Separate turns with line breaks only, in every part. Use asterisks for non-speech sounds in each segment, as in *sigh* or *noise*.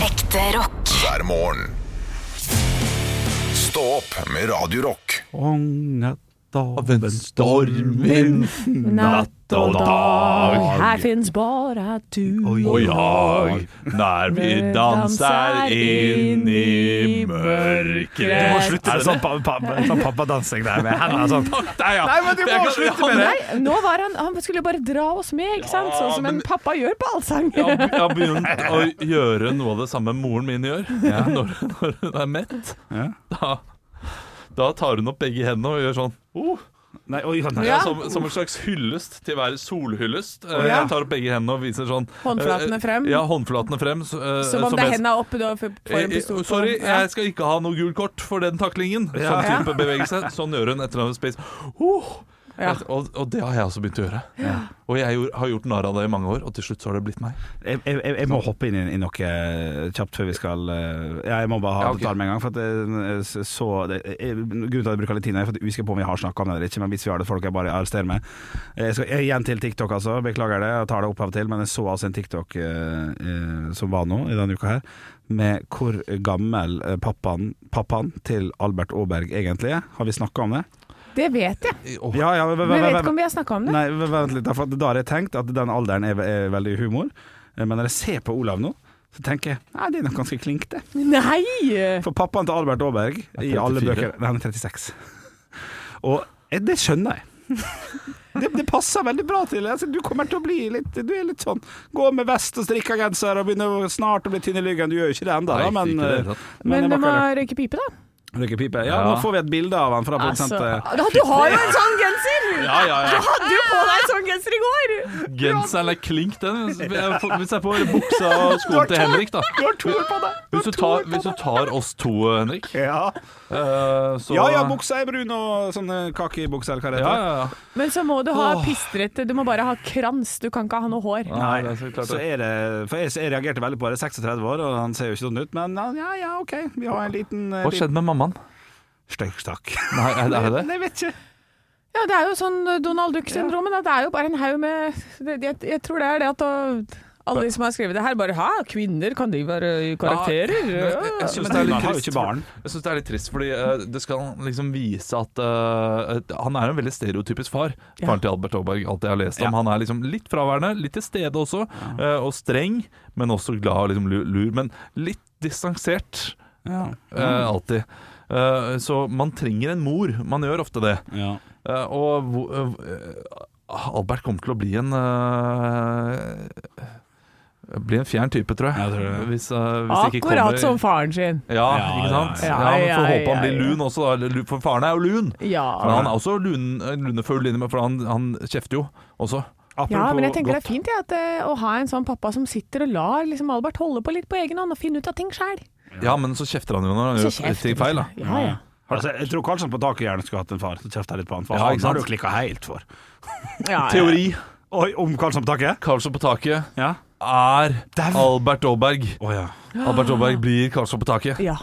Ekte rock.
hver morgen. Stå opp med Radio Rock.
Daven stormer natt og dag.
Her fins bare du
Og jag, når vi danser inn i mørket
Du må slutte
Er det sånn
pappa, pappa, sånn pappadansing der med hendene sånn.
Nei, ja.
Nei, men du må
Jeg kan-
slutte med
Ja,
det.
Nei, nå var han Han skulle bare dra oss med, ikke sant? Sånn som en pappa gjør på allsang.
Jeg har- jeg har begynt å gjøre noe av det samme moren min gjør *laughs* når, når hun er mett. Da, da tar hun opp begge hendene og gjør sånn. Oh,
Nei, oi, sånn- nei.
Ja.
som, som en slags hyllest til hver solhyllest. Eh,
ja.
Hun tar opp begge hendene og viser sånn
Håndflatene
eh,
frem?
Ja, håndflatene frem. så, eh,
*laughs* Som om det er
jeg-
henda opp da, for, for en
Eh, eh,
pistol. på-
Sorry,
Ja.
jeg skal ikke ha noe gult kort for den taklingen. Sånn
Ja.
type bevegelse. Sånn gjør hun etter at hun spiser. Oh,
Ja.
og, og det har jeg også begynt å gjøre. Og jeg gjorde- har gjort narr av det i mange år, og til slutt så har det blitt meg.
Jeg, jeg, jeg må hoppe inn i, i noe kjapt før vi skal eh, Ja, jeg må bare ha
Ja,
ja,
ok.
det med en gang. For at jeg, så, det, jeg, grunnen til at jeg bruker litt tid nå, er for at jeg er usikker på om vi har snakka om det eller ikke. Men hvis vi har det, får dere bare arrestere meg. Eh, Jeg skal jeg, igjen til TikTok, altså. Beklager det, jeg tar det opp av og til. Men jeg så altså en TikTok eh, eh, som var nå i denne uka her, med hvor gammel eh, pappaen, pappaen til Albert Aaberg egentlig er. Har vi snakka om det?
Det vet jeg.
Oh,
Ja, ja,
Men jeg vet ikke om vi har snakka om det.
Nei, v- vent litt, da, for da har jeg tenkt at den alderen er, ve- er veldig humor. Eh, Men når jeg ser på Olav nå, så tenker jeg nei, det er nok ganske klink, det.
Nei!
For pappaen til Albert Aaberg i alle
34.
bøker Nei, han er 36. Og eh, det skjønner
*laughs*
jeg. Det, det passer veldig bra til altså, Du kommer til å bli litt Du er litt sånn Gå med vest og strikka genser og begynner snart å bli tynn i lyggen. Du gjør jo ikke det ennå,
Nei,
men,
ikke i det hele
eh,
tatt.
men det
Men du
var
må
ikke
røyke pipe, da.
det. Røyke pipe. Ja,
Ja.
nå får vi et bilde av han fra produsent.
Altså,
eh,
da- du har jo
*laughs*
en sånn genser!
Ja, ja, ja.
Du hadde jo på deg en sånn genser i går!
Genseren er klink,
*laughs*
den. Hvis jeg får- hvis jeg får buksa og skoene til Henrik, da.
Du har to på deg!
Hvis du tar, hvis du tar oss to, Henrik,
Ja.
eh, så
Ja, ja, buksa er brun og sånne kakebukser eller hva det
Ja,
heter.
ja, ja.
Men så må du ha pistrete Du må bare ha krans, du kan ikke ha noe hår.
Nei, det er så klart
Så
det.
er det, for jeg, jeg reagerte veldig på det. 36 år, og han ser jo ikke sånn ut. Men ja, ja, ja, OK. Vi har en liten, eh,
Hva
liten
skjedde med mammaen?
støykstakk.
Nei, er det- er det det?
*laughs* Nei, jeg vet ikke.
Ja, det er jo sånn Donald Duck-syndromet. da. Det er jo bare en haug med det, jeg, jeg tror det er det at da, alle de som har skrevet det her, bare Hæ, kvinner, kan de være i karakterer?
Ja, jeg- jeg synes
Men
det er litt
han har jo
trist.
ikke barn.
Jeg syns det er litt trist, fordi eh, det skal liksom vise at eh, at Han er en veldig stereotypisk far.
Ja.
Faren til Albert Aaberg, alt jeg har lest om.
Ja.
Han er liksom litt fraværende, litt til stede også, eh, og streng, men også glad og liksom lu- lur. Men litt distansert,
Ja.
eh,
Mm.
alltid. Eh, så man trenger en mor. Man gjør ofte det.
Ja.
Eh, og hvor- eh, Albert kommer til å bli en eh, bli en fjern type, tror jeg.
Jeg tror det.
Hvis, eh, hvis det ikke kommer-
Akkurat som faren sin.
ja,
Ja,
ikke sant? Ja,
ja, ja.
men Får
Ja,
håpe han
ja,
blir
ja.
lun også, da. Eller lu- For faren er jo lun. Men
Ja.
han er også lun, lunefull, inni meg, for han, han kjefter jo også.
ja, men jeg tenker det er fint jeg, at, eh, å ha en sånn pappa som sitter og lar liksom Albert holde på litt på egen hånd og finne ut av ting sjæl.
Ja, men så kjefter han jo når han gjør ting feil, da.
Ja, ja.
Altså, jeg tror Karlsson på taket gjerne skulle hatt en far. Så kjefter jeg litt på han, for
Ja,
han
ikke
har
sant?
du klikka helt for.
Ja, ja.
Teori
Oi, om Karlsson på taket?
Karlsson på taket
Ja.
er
Dæven.
Albert Aaberg.
Å ja.
Albert Aaberg blir Karlsson på taket.
Ja.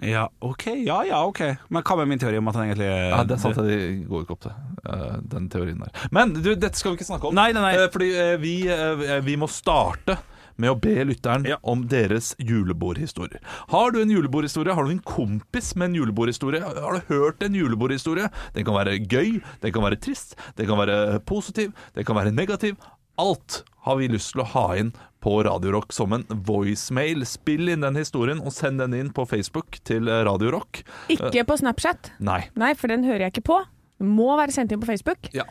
Ja, OK. Ja ja, OK. Men hva med min teori om at han egentlig
Ja, Det er sant, det går ikke opp til eh, den teorien der. Men du, dette skal vi ikke snakke om.
Nei, nei, nei.
Eh, Fordi eh, vi, eh, vi må starte med å be lytteren
Ja.
om deres julebordhistorier. Har du en julebordhistorie? Har du en kompis med en julebordhistorie? Har du hørt en julebordhistorie? Den kan være gøy, den kan være trist, den kan være positiv, den kan være negativ. Alt har vi lyst til å ha inn på Radio Rock som en voicemail. Spill inn den historien og send den inn på Facebook til eh, Radio Rock.
Ikke på Snapchat.
Nei.
Nei, for den hører jeg ikke på. Må være sendt inn på Facebook.
Ja.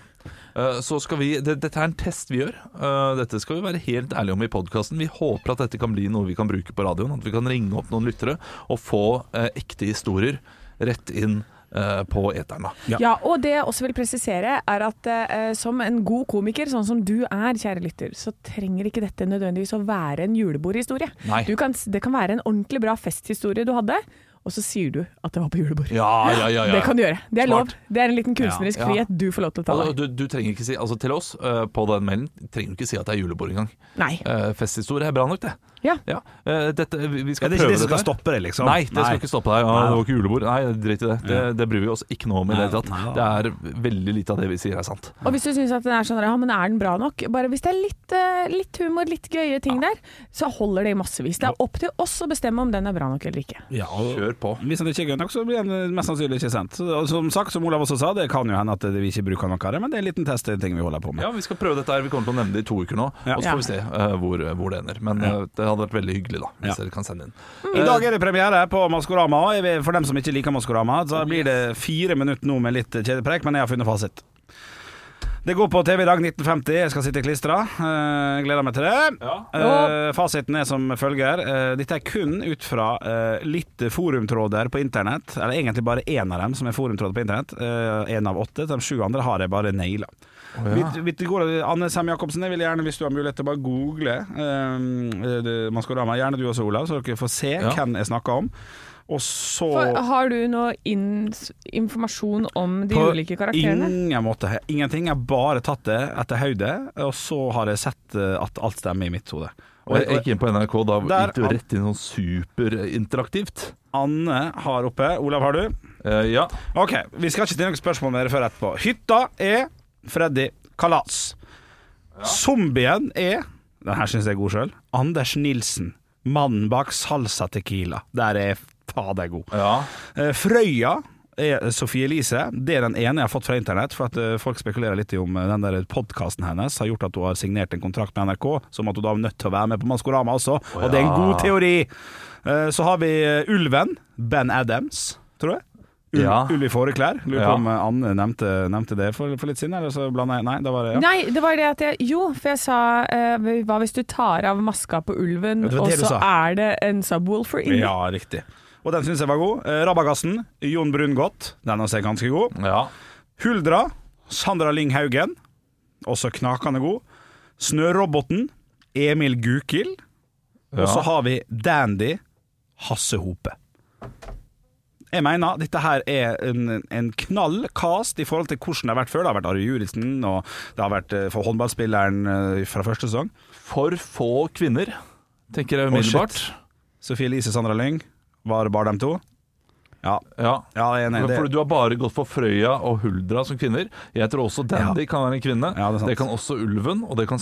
Eh, Så skal vi, det, dette er en test vi gjør. Eh, Dette skal vi være helt ærlige om i podkasten. Vi håper at dette kan bli noe vi kan bruke på radioen. At vi kan ringe opp noen lyttere og få eh, ekte historier rett inn eh, på eteren. da.
Ja, og det jeg også vil presisere er at eh, som en god komiker, sånn som du er, kjære lytter, så trenger ikke dette nødvendigvis å være en julebordhistorie.
Nei.
Du kan, det kan være en ordentlig bra festhistorie du hadde, og så sier du at det var på julebord.
Ja, ja, ja, ja.
Det kan du gjøre. Det er
Smart.
lov. Det er en liten kunstnerisk
Ja, ja.
frihet du får lov til å ta
Altså,
deg.
du, du trenger ikke si, altså Til oss eh, på den mailen trenger du ikke si at det er julebord engang.
Nei.
Eh, festhistorie er bra nok, det.
Ja.
Eh, dette, vi vi
Ja,
skal
det er ikke det
prøve
som
dette
skal
her.
stoppe det, liksom.
Nei, det skal ikke stoppe deg. Ja,
Nei.
det var ikke julebord. Nei, drit i det. det. Det bryr vi oss ikke noe om i det
Nei,
hele tatt.
nei
Det
da.
er veldig lite av det vi sier er sant.
Og hvis du syns at den er sånn der, ja, men er den bra nok? Bare hvis det er litt, eh, litt humor, litt gøye ting der, så holder det i massevis. Det er opp til oss å bestemme om den er bra nok eller ikke.
Ja, og-
Kjør på.
Hvis den ikke er gøy nok, så blir den mest sannsynlig ikke sendt. Så, og Som sagt, som Olav også sa, det kan jo hende at vi ikke bruker noe av det, men det er en liten test, det er en ting vi holder på med.
Ja, vi skal prøve dette her. Vi kommer til å nevne det i to uker nå,
Ja.
og så får vi se eh, hvor, hvor det ender. Men eh, det hadde vært veldig hyggelig da, hvis
Ja.
dere kan sende inn.
I dag er det premiere på Maskorama, og jeg vil- for dem som ikke liker Maskorama, så blir det fire minutter nå med litt kjedepreik, men jeg har funnet fasit. Det går på TV i dag 1950. Jeg skal sitte klistra. Eh, Gleder meg til det. Eh, fasiten er som følger. Eh, dette er kun ut fra eh, litt forumtråder på internett. Eller egentlig bare én av dem som er forumtråder på internett. Én av åtte. De sju andre har jeg bare naila. Mitt, mitt går, Anne Sem Jacobsen, jeg vil gjerne, hvis du har mulighet til å bare google eh, det- Maskorama, gjerne du også, Olav, så dere får se
Ja.
hvem jeg snakker om. Og så
For, har du noe ins- informasjon om de
på
ulike karakterene?
ingen måte. Ingenting. Jeg har bare tatt det etter hodet, og så har jeg sett eh, at alt stemmer i mitt hode.
Og jeg, jeg gikk inn på NRK, da
Der-
gikk det jo rett inn sånn superinteraktivt.
Anne har oppe. Olav, har du?
Eh, ja.
Ok, vi skal ikke til noen spørsmål med dere før etterpå. Hytta er Freddy Kalas. Zombien er Den her syns jeg er god sjøl. Anders Nilsen. Mannen bak Salsa Tequila. Der er fader god.
ja.
Eh, Frøya er Sofie Elise. Det er den ene jeg har fått fra internett. For at eh, folk spekulerer litt i om eh, den der podkasten hennes har gjort at hun har signert en kontrakt med NRK, som at hun da er nødt til å være med på Maskorama også. Og det er en god teori. Eh, Så har vi eh, Ulven. Ben Adams, tror jeg. Ulv,
Ja.
ulv i fåreklær. Lurer på
Ja.
om eh, Anne nevnte, nevnte det for, for litt siden, eller så blanda jeg Nei, da var det ja.
Nei, det var det at jeg Jo, for jeg sa eh, hva hvis du tar av maska på ulven,
Ja, det var
og
det du
så
sa.
er det en subwoolfer inni?
Ja, riktig. Og den syns jeg var god. Eh, Rabagassen. Jon Brungot. Den også er ganske god.
ja.
Huldra, Sandra Lyng Haugen, også knakende god. Snøroboten, Emil Gukild. Og så har vi Dandy Hassehope. Jeg mener dette her er en, en knall cast i forhold til hvordan det har vært før. Det har vært Ari Juritzen, og det har vært eh, for håndballspilleren eh, fra første sesong.
For få kvinner, tenker
Å,
jeg
shit.
umiddelbart.
Sofie Elise Sandra Lyng var det bare dem to. Ja,
ja.
ja jeg er enig.
For
Det,
du har bare gått for Frøya og Huldra som kvinner. Jeg tror også Dandy kan være en kvinne.
Ja, det er sant.
kan også Ulven, og det kan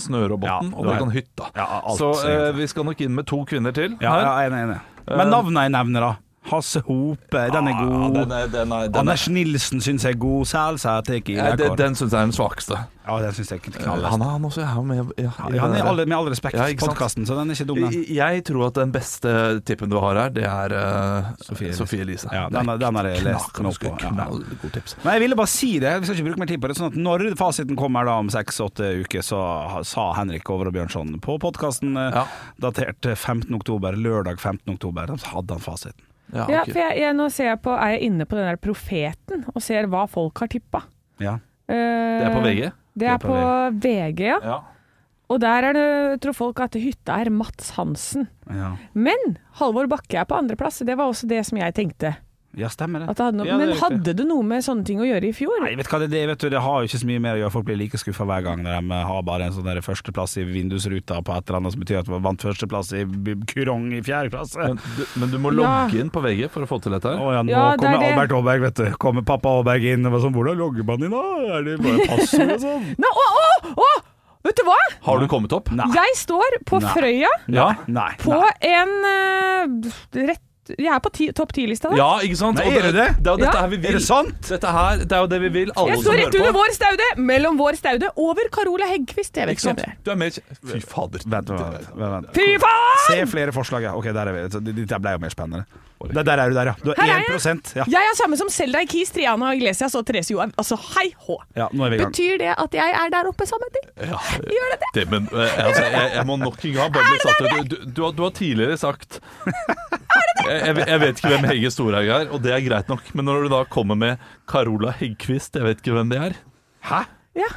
Ja,
Snørobotten,
det
og det
er-
kan Hytta.
ja, alt,
Så eh,
egentlig.
vi skal nok inn med to kvinner til.
ja,
her.
ja, jeg er enig, enig. Men navnet jeg nevner, da. Hassehope, den er god.
Eh. Ja, Ah, den er, den er, den er,
Anders Nilsen syns jeg er god. Sælsæter ikke i
Nei, den,
den,
Eh, den syns jeg er den svakeste.
Ja, den syns jeg
Han
knallest.
er han også er jo med ja, i
Han
den
er
der.
alle, med all respekt
Ja,
ja,
ikke sant?
podkasten, så den er ikke dum, den.
Jeg- Jeg tror at den beste tippen du har her, det er eh,
Sofie Elise.
Sofie Elise.
Ja, den er- den har jeg lest
knakende
nå på,
god-
ja.
knallgod tips.
Men jeg ville bare si det, vi skal ikke bruke mer tid på det. Sånn at når fasiten kommer da om seks-åtte uker, så ha- sa Henrik Over og Bjørnson på podkasten
Ja.
datert 15. oktober, lørdag 15. oktober, da hadde han fasiten.
Ja,
Ja,
ok.
for jeg, jeg, nå ser jeg på, er jeg inne på den der profeten og ser hva folk har tippa.
Ja.
Det er på VG.
Det er på VG, ja.
Ja.
Og der er det, tror folk at hytta er Mats Hansen.
Ja,
Men Halvor Bakke er på andreplass. Det var også det som jeg tenkte.
ja stemmer det.
At det hadde noe,
Ja, det er
men
riktig.
hadde det noe med sånne ting å gjøre i fjor?
Nei, vet du hva det er, det, vet du, det har jo ikke så mye mer å gjøre. Folk blir like skuffa hver gang når de har bare en sånn der førsteplass i vindusruta på et eller annet som betyr at man vant førsteplass i b- kurong i fjerde klasse.
Men, du, men du må
Ja.
logge inn på VG for å få til dette her.
Å ja, nå
Ja, det er
kommer
det.
Albert Aaberg, vet du. Kommer pappa Aaberg inn og var sånn Hvordan logger man inn, da? Er det bare passord og *laughs* sånn?
Nei, å, å, å! Vet du hva?
Har du kommet opp?
Nei.
Jeg står på
Nei.
Frøya
Ja.
Nei.
på
nei.
en eh, rett Jeg er på ti, topp ti-lista der.
ja, ikke sant?
Nei,
Og
er det det?
Det er jo dette
Ja.
her vi vil.
Er det sant?
Dette her, det er jo det vi vil. Alle
Jeg
som
står rett
hører
under
på.
vår staude, mellom vår staude, over Carola Heggkvist. Jeg vet ikke
Ikke sant?
hvem det er.
Du er mer Fy fader.
Vent, vent, vent, vent.
Fy faen!
Se flere forslag, ja. Ok, der er vi. Så det- Dette ble jo mer spennende. Der, der er du der, ja. Du er
Her er jeg.
1 ja.
Jeg er samme som Selda Keys, Triana Iglesias og Therese Johaug. Altså, hei hå!
ja. Nå er vi i gang.
Betyr det at jeg er der oppe sammen med de?
Ja.
Gjør det det?
Det, men, eh, altså, jeg, jeg må nok en gang bare bli satt ut. Du, du, har- du har tidligere sagt jeg, jeg- jeg vet ikke hvem Hege Storhaug er, og det er greit nok. Men når du da kommer med Carola Heggkvist, jeg vet ikke hvem det er.
Hæ?
Ja.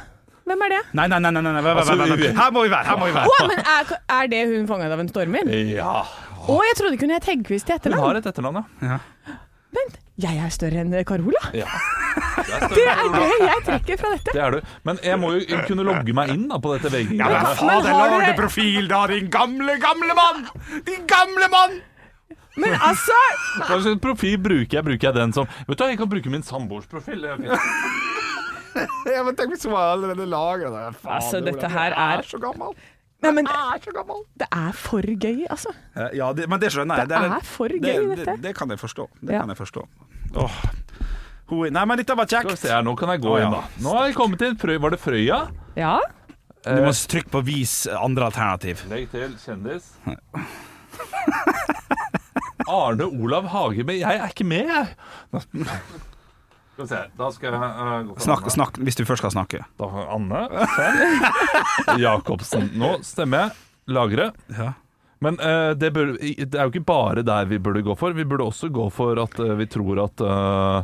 Hvem
*laughs*
er det?
Nei, nei, nei, nei, nei, nei. Vent,
Altså,
vent, vent,
vi-
vent. Her må vi være! Her må vi
Å,
være.
men er, er det hun fanget av en stormvind?
Ja.
Å, jeg trodde ikke hun het Heggkvist til
Hun Eh. har
etternavn.
et etternavn, ja.
Vent, jeg er større enn Carola?
ja.
Det er det jeg trekker fra dette.
Det er du. Men jeg må jo kunne logge meg inn da, på dette VG.
Ja, men
men
fader,
har
lag
dere-
deg profil, da, din gamle, gamle mann! Din gamle mann!
Men altså
Hva slags profil bruker jeg? Bruker jeg den som Vet du hva, jeg kan bruke min samboers profil. Det er fint.
Ja, men tenk hvis hun allerede lagra det. Fader,
Altså, dette
Olav,
her
jeg
er-
så gammel.
Nei, men
Jeg er så gammel.
det er for gøy, altså.
Eh, Ja, det, men det skjønner jeg.
Det er for gøy,
det,
dette.
Det, det kan jeg forstå. Det
Ja.
kan jeg forstå. Åh. Ho- Nei, men dette var
Skal vi
kjekt.
se her, nå kan jeg gå
Å, ja.
inn, da. Nå har jeg kommet inn. Frøy, var det Frøya?
Ja.
Du må
Eh.
trykke på 'vis andre alternativ'.
Legg til kjendis. *laughs* Arne Olav Hage med Jeg er ikke med, jeg. Skal vi se. Da skal jeg eh, gå for
Snakk,
Anne.
snakk hvis du først skal snakke.
Da får Anne. Sen. Jacobsen. Nå stemmer jeg. Lagre.
Ja.
Men eh, det, bør, det er jo ikke bare der vi burde gå for. Vi burde også gå for at eh, vi tror at eh,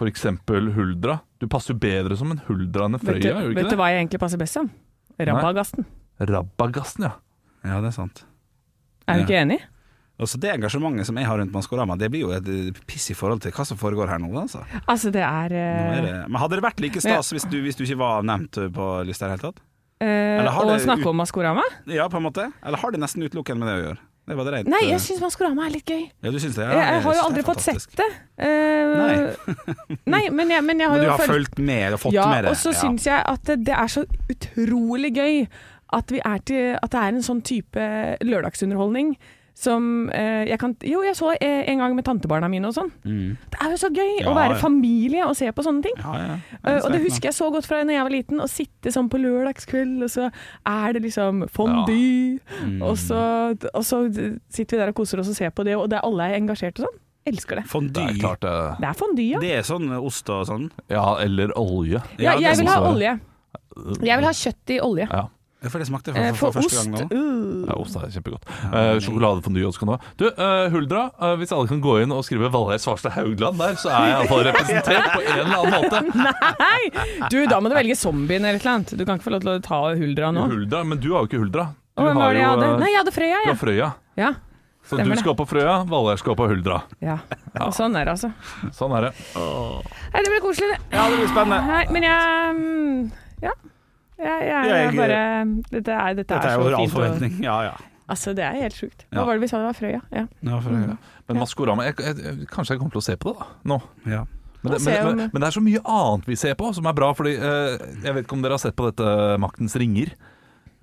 for eksempel huldra. Du passer jo bedre som en huldra enn en
Vet,
frøya,
du,
gjør du
vet du
ikke det?
hva jeg egentlig passer best som? Rabagasten.
Rabagassen, ja.
ja, det er sant.
Er du ikke enig?
Altså, det engasjementet som jeg har rundt Maskorama, det blir jo et eh, piss i forhold til hva som foregår her nå. Altså. nå
Altså, det er, eh,
er det. Men hadde det vært like stas hvis du, hvis du ikke var nevnt eh, på lista i det hele tatt?
eh,
Eller har
Å
det
snakke
ut-
om Maskorama?
Ja, på en måte? Eller har det nesten utelukkende med det å gjøre? Det var det rent,
Nei,
eh,
jeg syns Maskorama er litt gøy.
ja, du syns det? Ja,
Jeg, jeg har jo
syns det
aldri
er
fått
fantastisk.
sett det. Eh, *laughs* nei, men jeg, men jeg
Men
har
du
jo
har
følt-
fulgt med og fått
ja,
med det?
og så syns jeg at det- det er så utrolig gøy at, vi er til, at det er en sånn type lørdagsunderholdning som eh, jeg kan Jo, jeg så eh, en gang med tantebarna mine og sånn.
Mm.
Det er jo så gøy å
Ja,
være
ja.
familie og se på sånne ting.
Ja, ja.
Eh, og det husker jeg så godt fra da jeg var liten, å sitte sånn på lørdagskveld, og så er det liksom fondue, og,
Mm.
så, og så sitter vi der og koser oss og ser på det, og det er alle er engasjert og sånn. Elsker det.
Det
Fondue.
er klart det.
Det er fondue, ja.
Det er sånn ost og sånn.
Ja, eller olje.
ja.
det er
Jeg vil ha
sånn.
olje. Jeg vil ha kjøtt i olje.
Ja.
Ja, For det smakte
Eh,
jeg for, for, for
For
første
ost
gang nå.
uh. *laughs*
Ja, ost er kjempegodt. Eh, Sjokoladefondue også kan du ha. Du, eh, Huldra, eh, hvis alle kan gå inn og skrive Valgeir Svarstad Haugland der, så er jeg iallfall representert på en eller annen måte.
Nei! Du, da må du velge zombien eller et eller annet. Du kan ikke få lov til å ta huldra nå.
Huldra, Men du har jo ikke Huldra. Du
Å, hvem var det jeg
jo,
hadde?
eh,
Nei, jeg hadde Frøya,
du har
jeg.
Frøya.
Ja.
Så
Stemmer
du
det.
skal på Frøya, Valgeir skal på Huldra.
ja. Og sånn er det, altså.
Sånn er det.
Nei, det ble koselig, det.
Ja, det blir spennende.
Nei, men jeg mm, Ja. Jeg, jeg,
Jeg-
jeg bare Dette er, dette
Dette er jo
er så
all
fint. å-
forventning. Ja, ja.
altså, det er helt sjukt.
Ja.
Hva var det vi sa det var Frøya? Ja.
Ja, for, ja.
Men Maskorama jeg, jeg, jeg, Kanskje jeg kommer til å se på det da, nå.
Mm. ja.
Men
Da
det,
ser jeg
men,
om-
men, men det er så mye annet vi ser på som er bra, fordi eh, Jeg vet ikke om dere har sett på dette Maktens ringer?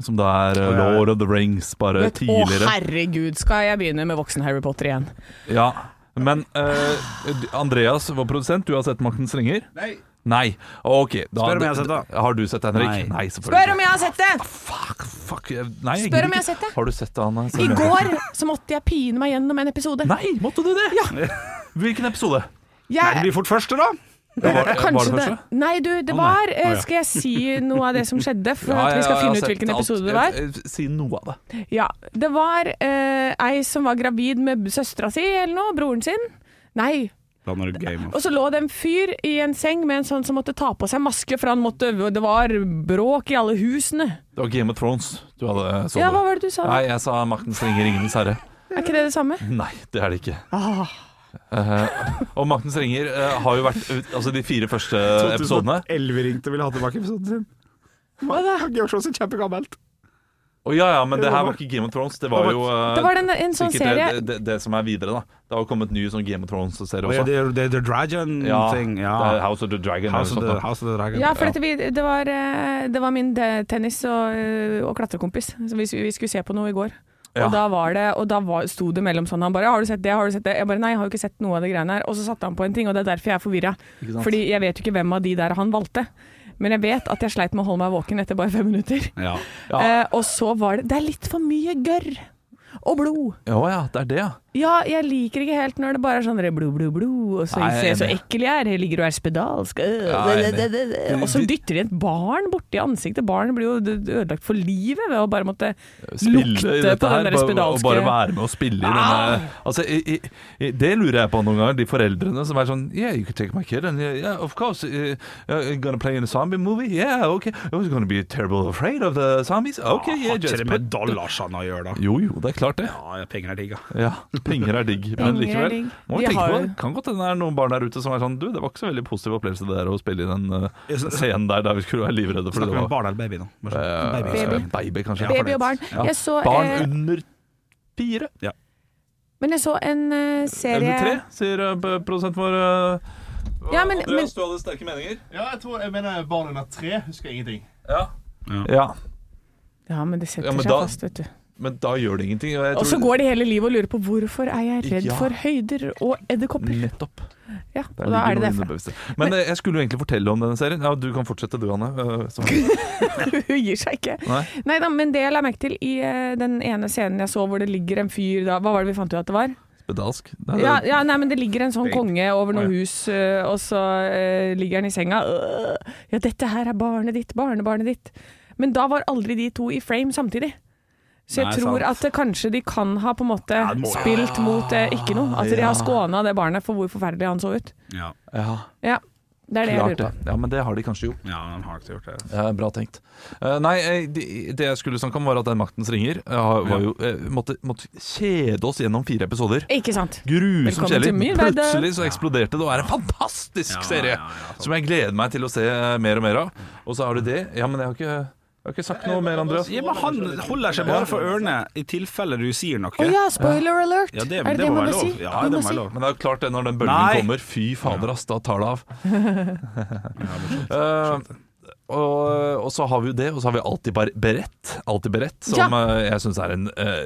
Som da er eh,
Å, ja.
Lord of the Rings, bare
Vet- Å,
tidligere.
herregud, skal jeg begynne med voksen Harry Potter igjen?
Ja, men eh, Andreas, vår produsent, du har sett Maktens ringer? Nei. Nei, ok. Da,
Spør om jeg har sett det.
Har du sett det, Henrik?
Nei.
Nei, selvfølgelig.
Spør om jeg har sett det!
Fuck, fuck. jeg- Nei, jeg
Spør om
gidder
jeg har
ikke.
sett det.
Har du sett det, Anna?
I går så måtte jeg pine meg gjennom en episode.
Nei, måtte du det? Ja. *laughs* Hvilken episode?
Nei, det
Jeg,
blir fort første, da.
Var, var det
Eh, kanskje det
første?
Nei, du, det
Å, nei.
var
Å,
eh,
ja.
Skal jeg si noe av det som skjedde, for
*laughs* Ja,
at vi skal
ja, jeg har
finne ut
sett
hvilken
alt.
episode det var?
Jeg- jeg- Si noe av det.
Ja, det var eh, ei som var gravid med søstera si eller noe, broren sin. Nei.
Blander du game
Og så lå det en fyr i en seng med en sånn som måtte ta på seg maske, for han måtte Det var bråk i alle husene.
Det var Game of Thrones du hadde så
Ja, hva
det.
var det du sa?
Sånn, Nei, jeg sa Maktens ringer, Ringenes herre.
Er ikke det det samme?
Nei, det er det ikke.
Ah.
Eh, og Maktens ringer eh, har jo vært eh, Altså de fire første episodene.
ringte og ville ha tilbake episoden sin.
Hva da?
Georg Sjåsen, kjempegammelt.
Å ja, ja, men det her var ikke Game of Thrones. Det var jo eh,
Det var den, en sånn
sikkert
serie
Det, det, det som er videre, da. Det har jo kommet ny sånn Game of Thrones-serie
Det
også.
er det er The Dragon-ting. Ja.
det er sånn House of the Dragon.
House of
eller
the,
sånt, da.
House of the Dragon.
Ja, for dette, vi, det, var, eh, det var min eh, tennis- og, eh, og klatrekompis. Så vi, vi skulle se på noe i går.
Ja.
Og da, var det, og da var, sto det mellom sånn Han bare 'Har du sett det? Har du sett det?' Jeg bare 'Nei, jeg har jo ikke sett noe av det greiene her'. Og så satte han på en ting, og det er derfor jeg er forvirra.
Ikke sant?
Fordi jeg vet jo ikke hvem av de der han valgte. Men jeg vet at jeg sleit med å holde meg våken etter bare fem minutter.
Ja.
Ja.
Eh, og så var det Det er litt for mye gørr og blod.
Ja, ja, det er det, ja.
Ja, jeg liker ikke helt når det bare er sånn der blod, blod, blod, og så
Nei,
ser
jeg er
jeg så
enig.
ekkel jeg er, jeg ligger og er spedalsk, øh,
Ja, jeg er
det, det, det, det. og så dytter de et barn borti ansiktet. Barn blir jo d- d- ødelagt for livet ved å bare måtte lukte
i
på
dette her,
den der
bare-
spedalske
Og bare være med og spille i
Ah!
denne altså, i, i, i, Det lurer jeg på noen ganger, de foreldrene som er sånn Yeah, you can take my kid, and yeah, yeah of course, uh, uh, gonna play in a zombie movie? Yeah, okay. I was gonna be terrible afraid of
Ah,
Ah,
the zombies? Okay, yeah,
Har ikke
just
det
put
med dollarsene å gjøre, da.
Jo, jo, det er klart det.
Ja, penger er digg, da.
Ja. Penger er digg, men
Penger er
likevel.
digg.
Må
De
jo tenke
har
på
jo-
det. Kan godt hende det er noen barn der ute som er sånn Du, det var ikke så veldig positiv opplevelse det der å spille i den eh,
*laughs*
Jeg sn-
scenen der der vi skulle være livredde for
Snakker vi
det
om
var
barn eller baby nå? Bare sånn.
Eh,
Baby.
Baby.
baby, kanskje.
Ja, for
Baby og barn.
det. Ja.
Jeg så,
Barn
eh,
under fire.
men jeg så en eh, serie
Under tre, sier eh, p- produsenten vår. eh,
Ja, men- men-
du hadde sterke meninger.
Ja, jeg tror jeg mener barn under tre husker ingenting.
Ja.
Ja.
ja.
Ja, men det setter
Ja, men
seg
da-
fast, vet du.
Men da gjør det ingenting. jeg
Og så går
tror-
de hele livet og lurer på hvorfor er jeg redd
Ja.
for høyder og edderkopper.
Nettopp.
Ja,
Der
og da er
ligger
det
noe
derfra.
underbevisst. Men, eh, jeg skulle jo egentlig fortelle om denne serien. Ja, Du kan fortsette du, Hanne.
*laughs*
Eh, så-
Hun gir seg ikke.
Nei.
Nei da, men det jeg la merke til i eh, den ene scenen jeg så hvor det ligger en fyr da Hva var det vi fant ut at det var?
Spedalsk. Nei, det-
Ja, ja nei, men det ligger en sånn konge over noe
Å,
hus, eh, og så eh, ligger han i senga. Øh, ja, dette her er barnet ditt, barnebarnet ditt. Men da var aldri de to i frame samtidig. Så jeg
Nei,
tror
sant.
at eh, kanskje de kan ha på en måte
det må-
spilt mot eh, ikke noe. At de
Ja.
har skåna det barnet for hvor forferdelig han så ut.
Ja.
Ja,
Ja, det er det jeg
klart
lurer på.
det. Ja, men det har de kanskje gjort.
ja, de har ikke gjort det.
Eh, bra tenkt. Eh, nei, eh, de- det jeg skulle snakke om, var at den Maktens ringer eh, var jo, eh, måtte, måtte kjede oss gjennom fire episoder.
Ikke sant.
Grusomt
Velkommen til
kjedelig.
min
Men
verden.
Plutselig så eksploderte det og er en fantastisk
Ja,
serie
ja, ja, sånn. sant.
som jeg gleder meg til å se eh, mer og mer av. Og så har du det. Ja, men jeg har ikke, jeg har ikke sagt noe mer, Andreas.
Ja, men han holder seg bare for ørene i tilfelle du sier noe.
Å ja, spoiler alert!
Ja, det,
er det det
må
man
være
må
lov.
si?
Ja,
Man
det må
må si-
være lov.
Men det er jo klart det, når den bølgen
Nei.
kommer, fy fader ass, da tar det av. Eh, og, og så har vi jo det, og så har vi alltid bare beredt. Alltid beredt, som eh, jeg syns er en eh,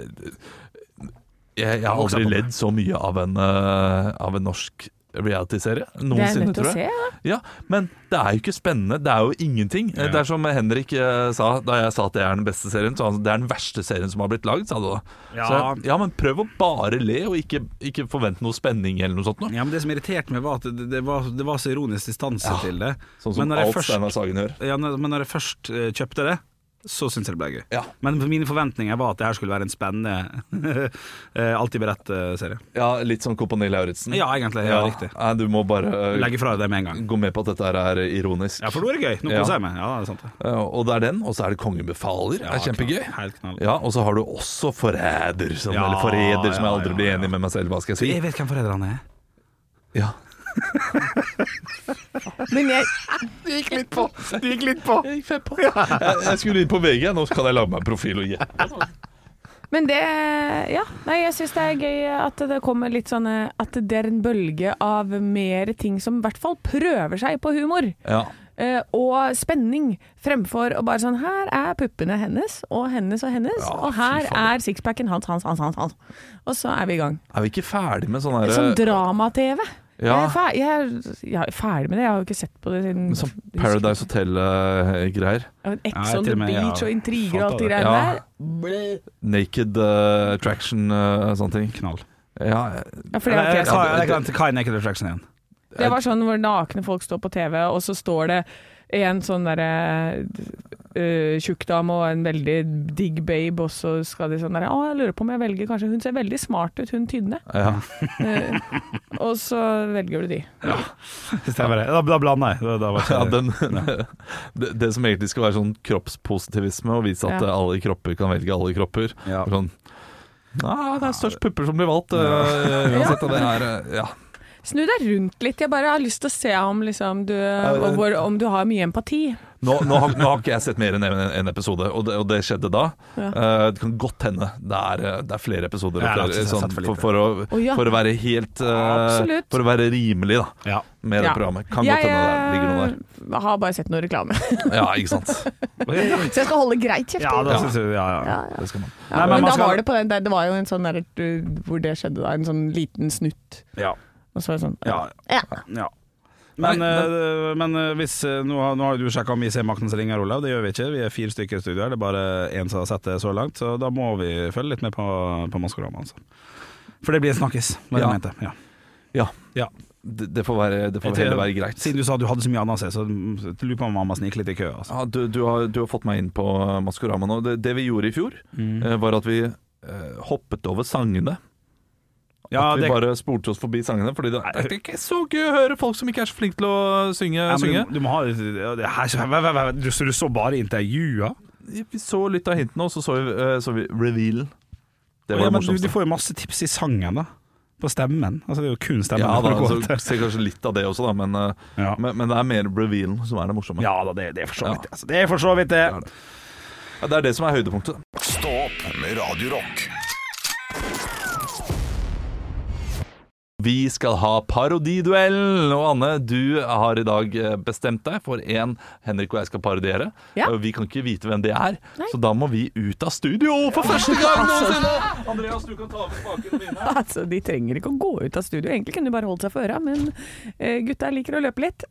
jeg, jeg har aldri ledd så mye av en, eh, av en norsk reality-serie
Det er
noensinne,
nødt til å
tror jeg.
se, da.
Ja, men det er jo ikke spennende. Det er jo ingenting. Eh, Det er som Henrik eh, sa da jeg sa at det er den beste serien. Så han, sa, det er den verste serien som har blitt lagd, sa du da.
Ja.
Så, jeg, ja, men prøv å bare le, og ikke, ikke forvente noe spenning eller noe sånt. Noe.
Ja, men Det som irriterte meg, var at det, det, var, det var så ironisk distanse til det.
Sånn som
men, når jeg
alt
først,
Steinar Sagen gjør.
ja, når- men når jeg først eh, kjøpte det, så syntes jeg det ble gøy.
Ja.
Men mine forventninger var at det her skulle være en spennende *laughs* eh, Alltid beredt-serie.
ja, litt som Kompani Lauritzen.
Ja, egentlig. Ja, riktig.
Nei, du må bare eh,
Legge fra deg det med en gang.
gå med på at dette her er ironisk.
Ja, for nå er det gøy. Nå
Ja.
koser jeg meg. Ja, det er sant. det.
Eh, og det er den, og så er det Kongen befaler.
Ja,
er kjempegøy.
knall. Helt knall.
Ja, Og så har du også Forræder, som,
Ja,
eller Forræder, som jeg
ja,
aldri
ja,
blir
ja.
enig med meg selv. Hva skal jeg si?
Jeg vet hvem foreldrene er.
Ja.
Men jeg,
Det gikk litt på.
Jeg gikk fem på. Jeg, jeg skulle inn på VG, nå kan jeg lage meg en profil og gi.
Men det Ja. Nei, jeg syns det er gøy at det kommer litt sånn eh, At det er en bølge av mer ting som i hvert fall prøver seg på humor.
Ja.
eh, Og spenning, fremfor å bare sånn Her er puppene hennes og hennes og hennes,
Ja,
og
fy
her
faen.
er sixpacken hans, hans, hans, hans, hans. Og så er vi i gang.
Er vi ikke ferdig med sånn herre
Sånn drama-TV. Jeg,
Ja.
er fer- jeg, er- jeg er ferdig med det, jeg har jo ikke sett på det siden
Sånn Paradise eh, Hotel-greier.
Ja, men Ex
Ja, til
on the
og med, ja.
beach og intriger og alt
Fant
de greiene
av
der.
det. Naked eh, attraction og sånne ting.
Knall.
Ja,
Ja, for det har ikke
Jeg
jeg sett.
kan jeg kan- Hva er Naked Attraction
*laughs*
igjen?
Det var sånn hvor nakne folk står på TV, og så står det en sånn derre uh, tjukk dame og en veldig digg babe, og så skal de sånn derre Å, jeg lurer på om jeg velger kanskje Hun ser veldig smart ut, hun tynne.
ja.
Eh, og så velger du de.
Stemmer det. Da, da blanda jeg. Da, da var ikke
ja
det-
den, *laughs* det, det som egentlig skal være sånn kroppspositivisme, og vise at
Ja.
eh, alle kropper kan velge alle kropper.
Ja.
Sånn Nei, det er størst pupper som blir valgt, eh, uansett. Og det er eh, Ja.
Snu deg rundt litt. Jeg bare har lyst til å se om, liksom, du,
det-
hvor, om du har mye empati.
Nå, nå, har, nå har ikke jeg sett mer enn en, en episode, og det, og det skjedde da. Eh, det kan godt hende det er, eh, det er flere episoder.
Ja,
og
det er
flere,
sant,
sånn,
det er
for,
sant,
for, å,
Å, ja.
for å være helt eh,
Absolutt.
For å være rimelig, da,
Ja.
med det
Ja.
programmet. Kan
jeg
godt hende det ligger noe der.
eh, har bare sett noe reklame,
Ja, ikke sant.
så jeg skal holde greit kjeft.
ja, da
Ja.
syns jeg ja, ja.
Ja, ja.
Det skal man.
Ja,
Nei, men
men
man
da
skal-
var det på den der, det var jo en sånn der du, hvor det skjedde da, en sånn liten snutt.
ja.
Og så var det sånn
Ja.
Ja.
ja. Men,
Nei,
eh, men eh, hvis, eh, nå, har, nå har du sjekka om vi ser Maktens ringer, Olav. Det gjør vi ikke. Vi er fire stykker i studio her. Det er bare én som har sett det så langt. Så da må vi følge litt med på, på Maskorama. Altså. For det blir en snakkis. Hva
Ja.
jeg mente. Ja.
Ja,
Ja.
det, det får, være, det får heller være greit.
Siden du sa du hadde så mye annet å se, så mm, lurer på om mamma sniker litt i kø. Altså.
Ja, du, du, har, du har fått meg inn på Maskorama nå. Det, det vi gjorde i fjor,
Mm.
eh, var at vi eh, hoppet over sangene.
Ja,
at vi
det,
bare spurte oss forbi sangene. Fordi det, det er ikke så gøy å høre folk som ikke er så flinke til å synge.
ja,
synge.
men du, du må ha ja, det her, vent, vent, vent, du, så du så bare intervjua?
Vi så litt av hintene, og så så vi, eh, så vi revealen. Det var
ja,
det
men du, du
morsomste.
får jo masse tips i sangen, da. På stemmen. Altså, det er jo kun stemmen. *laughs*
Ja,
du får
da,
gå
altså,
etter.
ser kanskje litt av det også, da, men, eh,
Ja.
men, men det er mer revealen som er det morsomme.
ja da, det, det er for så
Ja.
vidt det. Altså, det. Er for så vidt det.
er det. Ja, det er det som er høydepunktet.
Stå opp med Radio Rock.
Vi skal ha parodiduell, og Anne, du har i dag eh, bestemt deg for en Henrik og jeg skal parodiere.
Ja.
Eh, Vi kan ikke vite hvem det er,
Nei.
så da må vi ut av studio for første
*laughs*
gang Altså. noensinne! Andreas, du kan ta over spakene dine.
Altså, De trenger ikke å gå ut av studio, egentlig kunne de bare holdt seg for øra, men eh, gutta liker å løpe litt.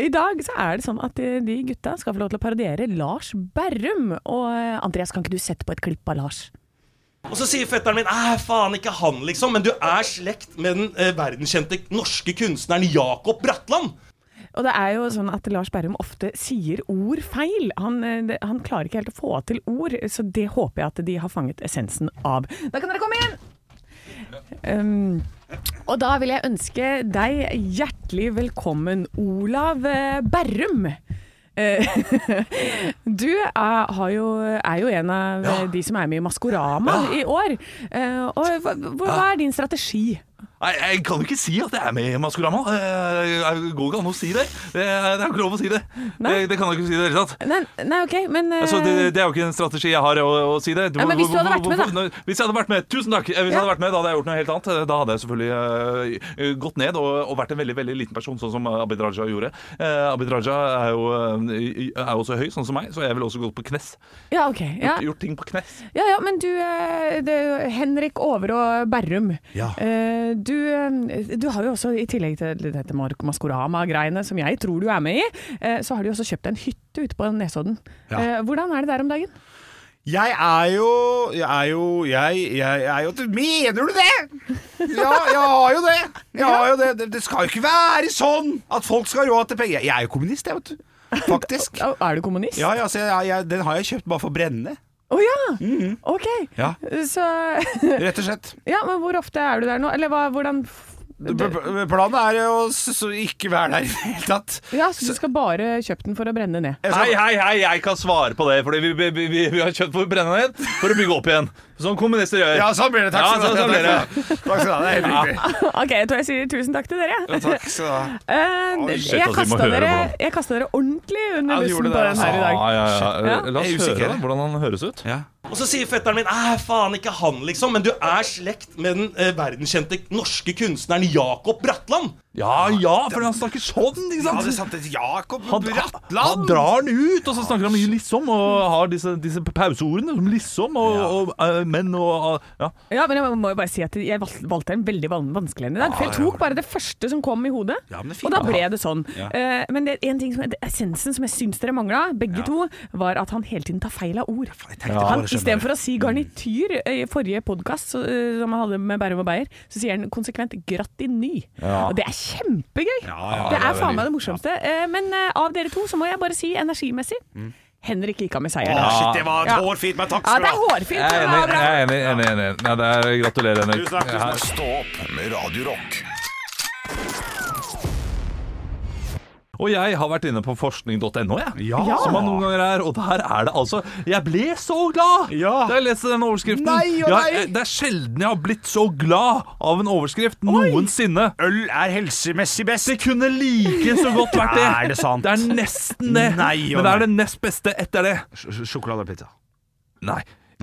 *laughs* I dag så er det sånn at eh, de gutta skal få lov til å parodiere Lars Berrum. Og eh, Andreas, kan ikke du sette på et klipp av Lars?
Og så sier fetteren min Æh, faen, ikke han, liksom. Men du er slekt med den eh, verdenskjente norske kunstneren Jakob Bratland.
Og det er jo sånn at Lars Berrum ofte sier ord feil. Han, eh, det- han klarer ikke helt å få til ord, så det håper jeg at de har fanget essensen av. Da kan dere komme inn! Um, og da vil jeg ønske deg hjertelig velkommen, Olav eh, Berrum. Eh, *laughs* Du er, har jo, er jo en av eh, de som er med i Maskorama i år. Eh, Og hva, hva- hva er din strategi?
Nei, jeg kan jo ikke si at jeg er med i Maskorama. Eh, Det går ikke an å si det. Det er det er jo ikke lov å si det. Det,
Nei.
det kan jeg ikke si i det hele tatt.
Nei, nei OK, men eh,
Altså, det, det er jo ikke en strategi jeg har å, å si det.
Ja, men hvis du hadde vært med, da?
Hvorfor- når- Hvis jeg hadde vært med, tusen takk! Eh, Hvis jeg
Ja.
hadde vært med, Da hadde jeg gjort noe helt annet. Eh, Da hadde jeg selvfølgelig eh, gått ned og, og vært en veldig veldig liten person, sånn som eh, Abid Raja gjorde. Eh, Abid Raja er jo, eh, er jo også høy, sånn som meg, så jeg ville også gått på knes.
Ja, OK. Ja.
Gjort ting på knes.
Ja, ja, men du, eh, det, er jo Henrik Overå Berrum.
Ja.
Eh, Du, eh, du har jo også, i tillegg til dette Mar- Maskorama-greiene som jeg tror du er med i, eh, så har du jo også kjøpt deg en hytte ute på Nesodden.
Ja.
Eh, Hvordan er det der om dagen?
Jeg er jo Jeg er jo Jeg, jeg er jo Mener du det?! Ja, jeg har jo det. Jeg har jo det. det. Det skal jo ikke være sånn at folk skal ha råd til penger. Jeg er jo kommunist, jeg, vet du. Faktisk.
*laughs* Ja, Er du kommunist?
Ja, ja, så jeg, jeg, den har jeg kjøpt bare for å brenne.
Å ja! Ok.
Mm-hmm. Ja.
Så *laughs*
Rett og slett.
Ja, men hvor ofte er du der nå? Eller hva, hvordan
P- p- Planen er å s s ikke være der i det hele tatt.
Ja, så du skal bare kjøpe den for å brenne ned?
Jeg
Hei,
skal,
hei, hei, jeg kan svare på det, Fordi vi, vi, vi, vi- vi har kjøpt for å brenne ned for å bygge opp igjen. Som kommunister gjør.
ja, sånn blir det. Takk
Ja,
skal du
sånn- sånn blir
ha.
det.
Takk skal du ha. Det er helt riktig.
*laughs* Ok, jeg tror jeg sier tusen takk til dere. Ja,
Takk skal du ha.
shit,
jeg
altså, vi må
kasta
høre
dere,
hvordan-
jeg kastet dere ordentlig
Ja,
under
du
bussen
gjorde
på
det, altså.
den her i dag.
Ja, ja, ja.
Shit.
Eh, La oss
Jeg er usikker,
høre da,
jeg.
hvordan han høres ut.
Ja.
Og så sier fetteren min Æh, faen, ikke han, liksom. Men du er slekt med den eh, verdenskjente norske kunstneren Jakob Bratland.
Ja ja, for han snakker sånn, ikke sant?
Ja, det satt et Jakob
Han, han
Bratland.
drar den ut, og så snakker han mye liksom, og har disse, disse pauseordene som liksom, og, og eh, menn og eh, ja.
Ja, men jeg må jo bare si at jeg valg- valgte en veldig van- vanskelig en i dag. For jeg tok bare det første som kom i hodet,
Ja, men det er
og
fint,
da
da.
ble det sånn.
Ja.
Eh, men det er en ting som, det- essensen som jeg syns dere mangla, begge to, var at han hele tiden tar feil av ord.
jeg tenkte
Han,
bare skjønner det. Mm.
Istedenfor å si garnityr eh, i forrige podkast som han hadde med Bærum og Beyer, så sier han konsekvent 'gratiny'. Og det er kjempegøy!
Ja, ja,
det
det
er
er
faen meg det morsomste. Eh, men eh, av dere to så må jeg bare si energimessig Henrik gikk av med seieren.
Å, Ah, shit, det var
Ja.
hårfint, men takk
Ja, det er
ha.
hårfint! Det var bra.
enig. enig, enig. Nei, det er, gratulerer, Henrik.
Tusen takk, tusen takk.
Stå opp med Radio Rock.
Og jeg har vært inne på forskning.no, jeg.
Ja.
Som man noen ganger er. Og der er det altså Jeg ble så glad
Ja.
da jeg leste den overskriften.
Nei og
Ja,
nei.
jeg- det er sjelden jeg har blitt så glad av en overskrift noensinne.
Øl er helsemessig best.
Det kunne like så godt vært det.
Er det sant?
Det er nesten det.
Nei og
Men det er
nei.
det nest beste etter det.
Sjokolade og pizza.
Nei.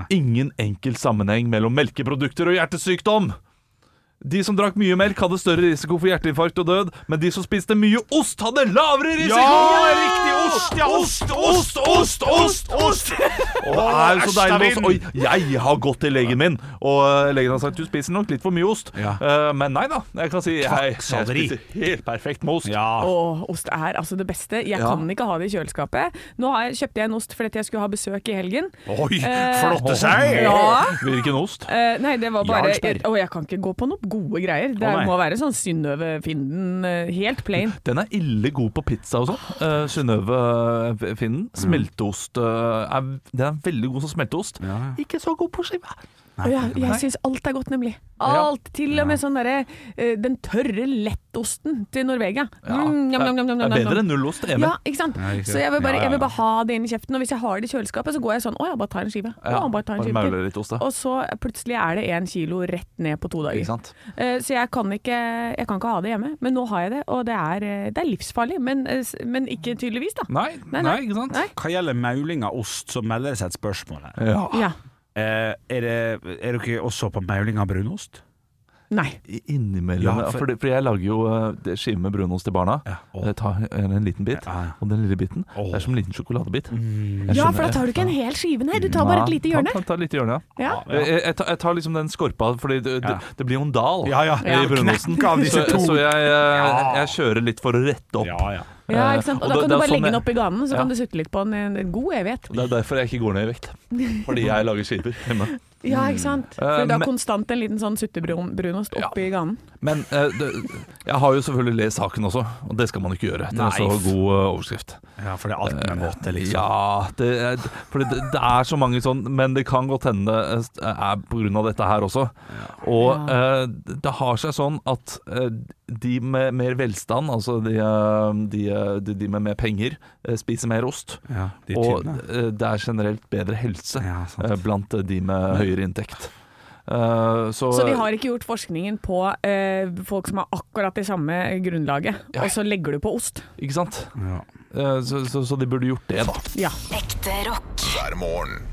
Ingen enkel sammenheng mellom melkeprodukter og hjertesykdom. De som drakk mye melk, hadde større risiko for hjerteinfarkt og død, men de som spiste mye ost, hadde lavere risiko!
Ost, ost, ost, ost! ost.
Og det er jo så
Æsj, da
deilig
vinn.
også. Oi, jeg har gått til legen min, og eh, legen har sagt du spiser nok litt for mye ost.
Ja.
Eh, men nei da, jeg kan si jeg, jeg
Kvakksalveri.
spiser helt perfekt med ost.
Ja.
Åh, ost er altså det beste. Jeg
Ja.
kan ikke ha det i kjøleskapet. Nå har jeg, kjøpte jeg en ost fordi at jeg skulle ha besøk i helgen.
Oi,
Eh,
flotte seg!
Ja.
Hvilken ost?
Eh, nei, det var bare
Jarlsberg.
Å, jeg kan ikke gå på noen gode greier. Det
Å, nei.
må være sånn Synnøve Finden, eh, helt plain.
Den er ille god på pizza og sånn. Eh, Synnøve eh,
Mm.
Finden. Smelteost eh, er, Den er veldig god som smelteost. Ikke så god på skive.
Og jeg jeg syns alt er godt, nemlig. Alt. Til og med sånn derre eh, Den tørre lettosten til Norvegia. Mm,
Det
njam, njam, njam, njam,
er
njam,
bedre
njam.
enn nullost, enig.
Ja, ikke sant?
Ja, ikke
Så jeg vil, bare,
sant. Ja,
jeg vil
ja,
bare ha det inn i kjeften. Og hvis jeg har det i kjøleskapet, så går jeg sånn Å ja, bare ta en skive. Å,
Ja,
bare ta en
bare
skive
maule
til.
litt ost, da.
Og så eh, plutselig er det én kilo rett ned på to
Ikke
dager.
sant?
Eh, Så jeg kan, ikke, jeg kan ikke ha det hjemme. Men nå har jeg det, og det er, eh, det er livsfarlig. Men, eh, s- men ikke tydeligvis, da.
Nei,
Nei,
nei,
nei.
ikke sant?
Nei.
Hva gjelder mauling av ost, så melder det seg et spørsmål her.
Ja.
Ja.
Eh, er, det, er dere også på mauling av brunost?
Nei.
I- Innimellom.
Ja,
Ja,
for-
for, for jeg lager jo eh, det skive med brunost til barna.
Ja, og-
Jeg tar en, en liten bit,
Ja, ja.
og den lille biten
Åh.
Det er som en liten sjokoladebit.
Mm. Ja, for da tar du ikke en hel skive, nei. Du tar bare et lite hjørne.
Ta, ta, ta et lite hjørne, ja.
Ja.
Jeg, jeg- jeg, tar, jeg tar liksom den skorpa, Fordi det,
Ja.
det, det blir jo en dal
Ja, ja.
i brunosten.
Knekk av disse
Så,
to.
så jeg, eh,
Ja.
jeg kjører litt for å rette opp.
Ja, ja.
Ja,
Eh,
ikke sant? Og, da
og det-
kan
det
du
er
bare
sånn
legge den
jeg-
opp i ganen, så
Ja.
kan du sutte litt på den i en god evighet.
Det er derfor jeg ikke går ned i vekt. Fordi jeg lager skiver hjemme.
Ja, ikke sant?
Eh,
For da
men-
konstant en liten sånn suttebrunost oppi ganen.
Men eh, det, jeg har jo selvfølgelig lest saken også, og det skal man ikke gjøre. Det
Nei.
er så god eh, overskrift.
ja, for det er alt med våte, liksom.
Eh, Ja, det er, fordi det, det er så mange sånn, men det kan godt hende det er på grunn av dette her også. Og eh, det har seg sånn at eh, de med mer velstand, altså de, eh, de, eh, de, de med mer penger, eh, spiser mer ost.
Ja, de
og
tynne.
eh, det er generelt bedre helse
Ja, sant.
eh, blant eh, de med høyere inntekt. Eh, så,
Så de har ikke gjort forskningen på eh, folk som har akkurat det samme grunnlaget,
Ja.
og så legger du på ost.
Ikke sant?
Ja.
Eh, så, så, så de burde gjort det, da.
Ja.
Ekte rock.
hver morgen.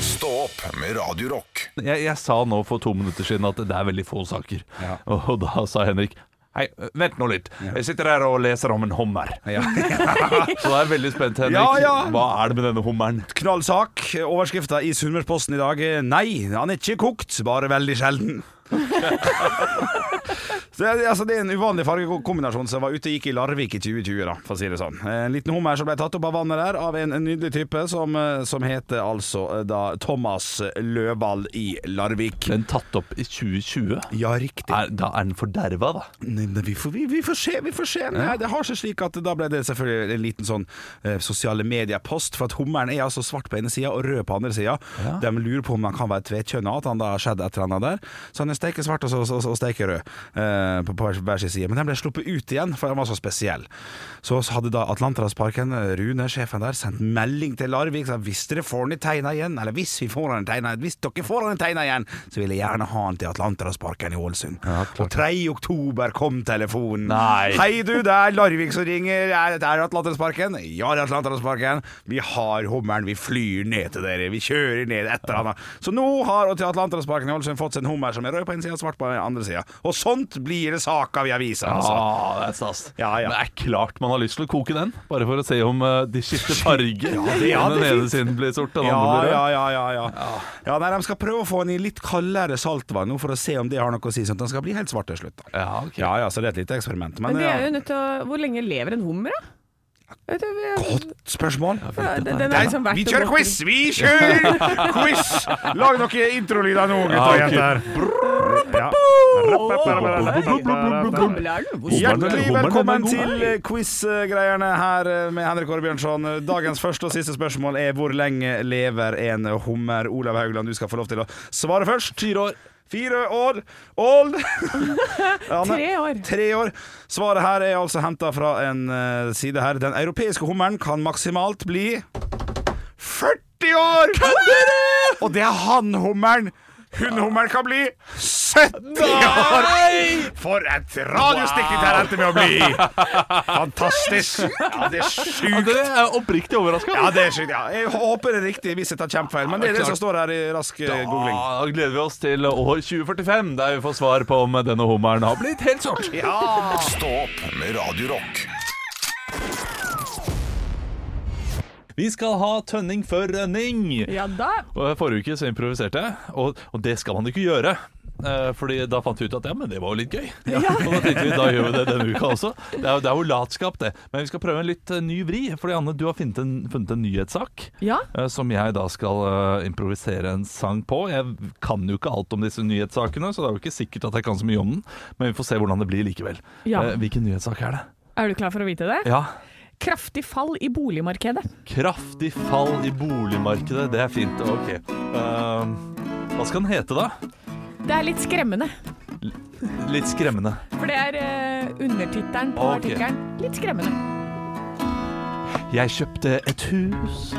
Stå opp med Radio Rock.
Jeg, jeg sa nå for to minutter siden at det er veldig få saker.
Ja.
*laughs* Og, og da sa Henrik Hei, vent nå litt. Jeg sitter her og leser om en
*laughs*
hummer. *laughs* Så da er jeg veldig spent, Henrik.
Ja, ja.
Hva er det med denne hummeren?
Knallsak. Overskrifta i Sunnmørsposten i dag er 'Nei, han er ikke kokt, bare veldig sjelden'. *laughs* Så det, altså, det er en uvanlig fargekombinasjon som var ute og gikk i Larvik i 2020, da, for å si det sånn. En liten hummer som ble tatt opp av vannet der, av en, en nydelig type som, eh, som heter altså eh, da Thomas Løvald i Larvik.
Den tatt opp i 2020?
Ja, riktig.
Er, da er den forderva, da.
Nei, men vi, får, vi, vi får se. Vi får se. Nei, det har seg slik at da ble det selvfølgelig en liten sånn eh, sosiale medier-post. For at hummeren er altså svart på ene sida og rød på andre sida. De lurer på om han kan være tvekjønna, at han da har skjedd et eller annet der. Så han er steike svart og, så- så- så steike rød eh, på, på hver- hver sin side. Men den ble sluppet ut igjen, for den var så spesiell. Så hadde da Atlanterhavsparken, eh, Rune, sjefen der, sendt melding til Larvik. Sa, hvis dere får den i tegna igjen, eller hvis vi får den i tegna Hvis dere får den i tegna igjen, så vil jeg gjerne ha den til Atlanterhavsparken i Ålesund. og 3. oktober kom telefonen.
Nei.
Hei du, det er Larvik som ringer. Er dette er Atlanterhavsparken? Ja, det er Atlanterhavsparken. Vi har hummeren. Vi flyr ned til dere. Vi kjører ned etter han. Så nå har til Atlanterhavsparken i Ålesund fått seg en hummer som er rød på en side og svart på den andre sida. Og sånt blir det sak av i avisa, altså.
Ah, det er stas.
Ja, ja.
Men det er klart man har lyst til å koke den, bare for å se om eh, de skifter farge.
det er
den ene
fint.
siden blir sort, den andre
Ja,
blir rød.
ja, ja, ja, ja. ja nei, De skal prøve å få den i litt kaldere saltvann nå for å se om det har noe å si, sånn at den skal bli helt svart til slutt. Da.
Ja, ok.
Ja, ja, så det er et lite eksperiment. Men,
Men de er jo
ja.
nødt til å Hvor lenge lever en hummer, da? Vet du, vi-
Godt spørsmål.
Ja, den- den
Nei,
er liksom verdt
vi
å
kjører
gå
quiz!
til.
Vi kjører quiz! Lag noen introlider nå, gutter og
Ja, ok.
jenter. Ja.
Humler, hvor
Hjertelig
Hummeren er-
velkommen
hummeren er god.
til eh, quiz-greiene her eh, med Henrik Åre Bjørnson. Eh, Dagens første og siste spørsmål er hvor lenge lever en hummer? Olav Haugland, du skal få lov til å svare først. Fire år. Fire år old. *laughs* Anne,
Tre år.
Tre år. Svaret her er altså henta fra en eh, side her. Den europeiske hummeren kan maksimalt bli 40 år! Kødder du?! Og det er han-hummeren. Hun-hummeren kan bli 70 år! For et radiostikk ditt her endte med å bli! Fantastisk. Ja, det er
Ja,
sjukt.
det er oppriktig overraska.
Ja, det er sjukt. Ja. Jeg håper det er riktig hvis jeg tar kjempefeil, men det er det som står her i rask eh, googling.
Ah, Da gleder vi oss til år 2045, der vi får svar på om denne hummeren har blitt helt sort.
Stå opp med Radio Rock.
Vi skal ha tønning før rønning.
Ja da.
Og Forrige uke så improviserte jeg, og, og det skal man ikke gjøre. Eh, Fordi da fant vi ut at ja, men det var jo litt gøy. *laughs* Og da tenkte vi da gjør vi det denne uka også. Det er, jo- det er jo latskap, det. Men vi skal prøve en litt eh, ny vri. Fordi Anne, du har funnet en, funnet en nyhetssak
Ja.
eh, som jeg da skal eh, improvisere en sang på. Jeg kan jo ikke alt om disse nyhetssakene, så det er jo ikke sikkert at jeg kan så mye om den. Men vi får se hvordan det blir likevel.
Ja.
Eh, Hvilken nyhetssak er det?
Er du klar for å vite det?
Ja.
Kraftig fall i boligmarkedet.
Kraftig fall i boligmarkedet. Det er fint. Ok. Ehm, hva skal den hete, da?
Det er litt skremmende,
Litt skremmende.
for det er eh, undertittelen på
Ok.
artikkelen. Litt skremmende.
Jeg kjøpte et hus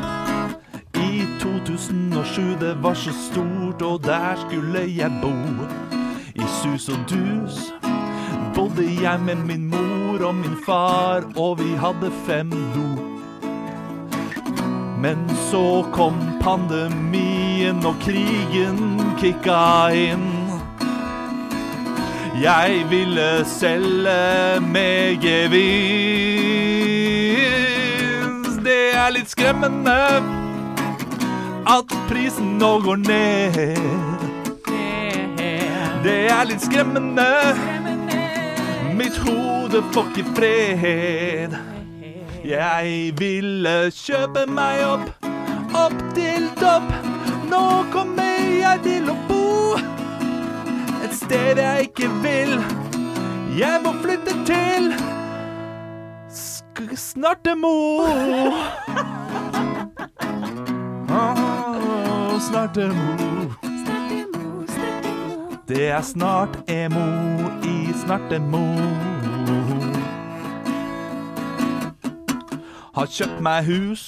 i 2007. Det var så stort, og der skulle jeg bo. I sus og dus bodde jeg med min mor og min far, og vi hadde fem do. Men så kom pandemien, og krigen kicka inn. Jeg ville selge med gevinst. Det er litt skremmende at prisen nå går ned. Det er litt skremmende. Mitt hode får ikke fred. Jeg ville kjøpe meg opp, opp til topp. Nå kommer jeg til å bo et sted jeg ikke vil. Jeg må flytte til Sk Snartemo. Ah, Snartemo. Det er snart emo i Snartemo. Har kjøpt meg hus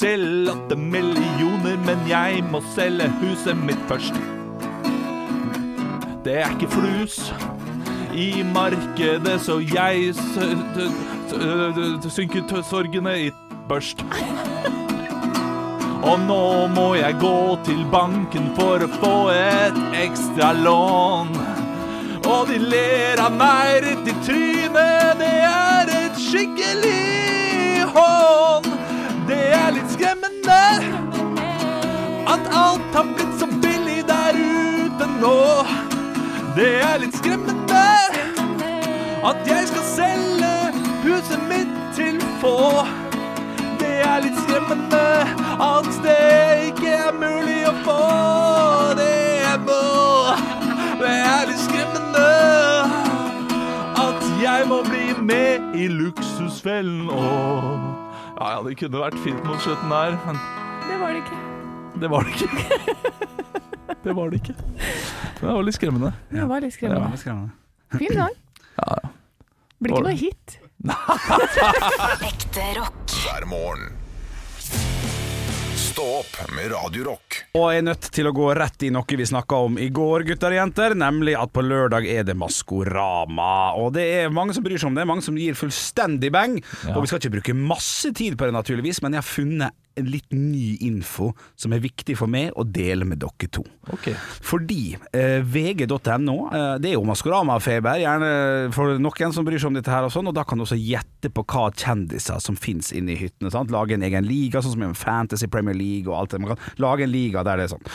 til åtte millioner, men jeg må selge huset mitt først. Det er ikke flus i markedet, så jeg s- t- t- t- synker t- sorgene i børst. Og nå må jeg gå til banken for å få et ekstra lån. Og de ler av meg rett i trynet, det er et skikkelig hån. Det er litt skremmende at alt har blitt så billig der ute nå. Det er litt skremmende at jeg skal selge huset mitt til få. Det er litt skremmende at det ikke er mulig å få det jeg må. Det er litt skremmende at jeg må bli med i luksusfellen. Åh. Ja, ja, det kunne vært fint mot slutten her, men
Det var det ikke.
det var det
*laughs*
ikke. Det var det ikke. Det var litt skremmende.
Det var litt
Ja,
skremmende.
det er skremmende.
Fin dag.
*laughs*
Blir ikke noe hit.
Ekte rock.
hver morgen. Stå opp med Radio Rock.
Og jeg er nødt til å gå rett i noe vi snakka om i går, gutter og jenter, nemlig at på lørdag er det Maskorama. Og det er mange som bryr seg om det, mange som gir fullstendig beng. Og vi skal ikke bruke masse tid på det, naturligvis, men jeg har funnet en litt ny info som er viktig for meg å dele med dere to. Fordi eh, vg.no, eh, det er jo Maskorama-feber, gjerne eh, for noen som bryr seg om dette her og sånn, og da kan du også gjette på hva kjendiser som finnes inne i hyttene. Sant? Lage en egen liga, sånn som i Fantasy Premier League og alt det. Man kan lage en liga der det er sånn.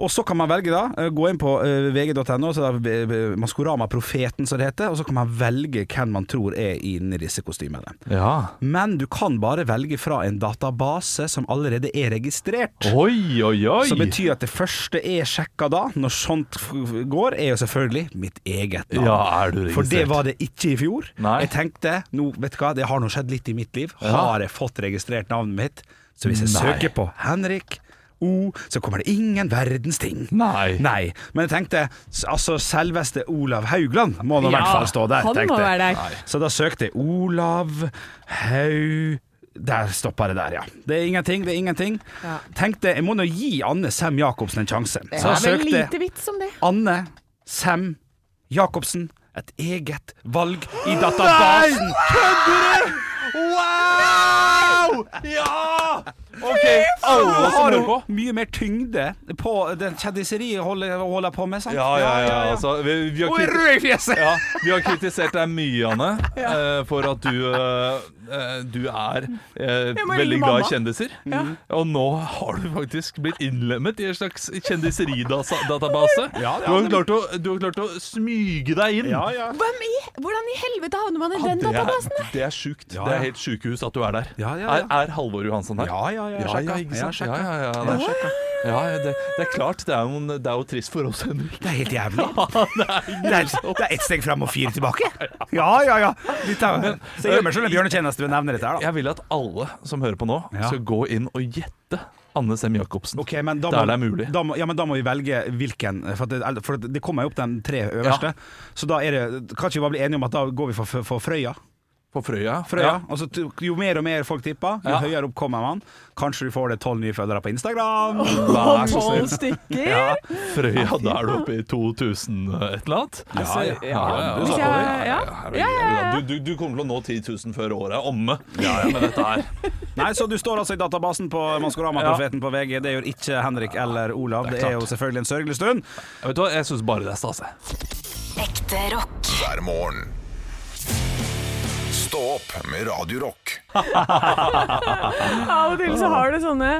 Og så kan man velge da, eh, gå inn på eh, vg.no, så det er eh, Maskorama-profeten som det heter, og så kan man velge hvem man tror er inne i disse kostymene.
Ja.
Men du kan bare velge fra en database som allerede er registrert.
Oi, oi, oi.
Som betyr at det første jeg sjekka da, når sånt f- f- går, er jo selvfølgelig mitt eget navn.
Ja, er du registrert?
For det var det ikke i fjor.
Nei.
Jeg tenkte nå, vet du hva, det har nå skjedd litt i mitt liv. Har jeg fått registrert navnet mitt? Så hvis jeg
Nei.
søker på Henrik O, så kommer det ingen verdens ting.
Nei.
Nei. Men jeg tenkte s- altså selveste Olav Haugland må nå i
Ja,
hvert fall stå der.
han må
tenkte jeg.
være der.
Så da søkte jeg Olav Haug Der stoppa det der, ja. Det er ingenting, det er ingenting.
Ja.
Tenkte jeg må nå gi Anne Sem Jacobsen en sjanse.
Det
Så
er vel
søkte
lite
jeg
vits om det.
Anne Sem Jacobsen et eget valg i databasen.
Wow! Ja! OK, alle
Og
som
har
hører på.
hun mye mer tyngde på den kjendiseriet holder, holder på med, sant?
Ja, ja, ja. Altså, vi, vi, har
Og er
kriti-
rød i fjeset!
ja, vi har kritisert deg mye, Anne, eh, for at du, eh, eh, du er
må
eh,
ringe
veldig glad
mamma.
i kjendiser. Og nå har du faktisk blitt innlemmet i en slags kjendiseridatabase.
Ja, ja,
du, har
men-
klart å, du har klart å smyge deg inn.
Hvem i, hvordan i helvete havner man i den
Det er,
databasen?
det er sjukt.
Ja,
Det
ja.
er helt sjukehus at du er der.
Ja, ja, ja.
Er, er Halvor Johansson her?
Ja, ja, ja, jeg
ja,
sjekka.
ja, ikke sant?
Jeg sjekka.
Ja, ja, ja, det er sjekka. Ja, ja, det, det er klart. Det er, jo, en- det er jo trist for oss, Henrik.
Det er helt *laughs* jævlig. Det er, det er ett steg fram og fire tilbake. Ja, ja, ja. De tar- Så jeg gjør meg selv en bjørnetjeneste ved å nevne dette her, da.
Jeg vil at alle som hører på nå,
Ja.
skal gå inn og gjette Anne Sem Jacobsen.
Ok, men da må,
Der det er mulig.
Da må, ja, men da må vi velge hvilken, eh, for, at det, for at det kommer jo opp de tre øverste. Så da er det Kan ikke vi bare bli enige om at da går vi for, for Frøya?
På Frøya.
Frøya. Altså, t- jo mer og mer folk tipper, jo
Ja.
høyere opp kommer man. Kanskje du får det tolv nye følgere på Instagram. *laughs*
Vær så
Tolv
snill.
stykker!
Ja, Frøya, da er du oppe i 2000 et eller annet?
Altså, ja,
Hvis
Du,
jeg- ja. Ja, ja, ja.
Du, du, du kommer til å nå 10 000 før året er omme med dette her.
Nei, så du står altså i databasen på Maskorama-profeten på VG. Det gjør ikke Henrik eller Olav. Det er jo selvfølgelig en sørgelig stund.
Vet du hva, Jeg syns bare det er stas. jeg.
Ekte rock.
hver morgen. Stå opp med Radio Rock.
Av og til så har du sånne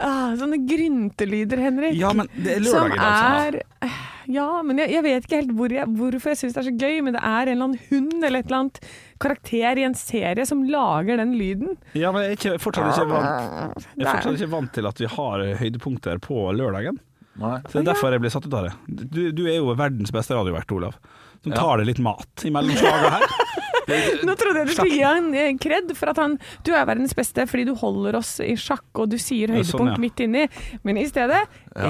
ah, Sånne gryntelyder, Henrik.
Ja, men det er
som
lørdag i dag.
er Ja, men jeg, jeg vet ikke helt hvor jeg, hvorfor jeg syns det er så gøy, men det er en eller annen hund eller et eller annet karakter i en serie som lager den lyden.
Sånn. Ja, men jeg er ikke, fortsatt ikke vant, jeg er
Nei.
fortsatt ikke vant til at vi har høydepunkter på lørdagen. Så Det er derfor jeg blir satt ut av det. Du, du er jo verdens beste radiovert, Olav. Som tar det litt mat i
*laughs*
mellomslaga her.
Nå trodde jeg du skulle gi han eh, kred for at han Du er verdens beste fordi du holder oss i sjakk, og du sier
Ja, sånn,
høydepunkt
ja.
midt inni, men i stedet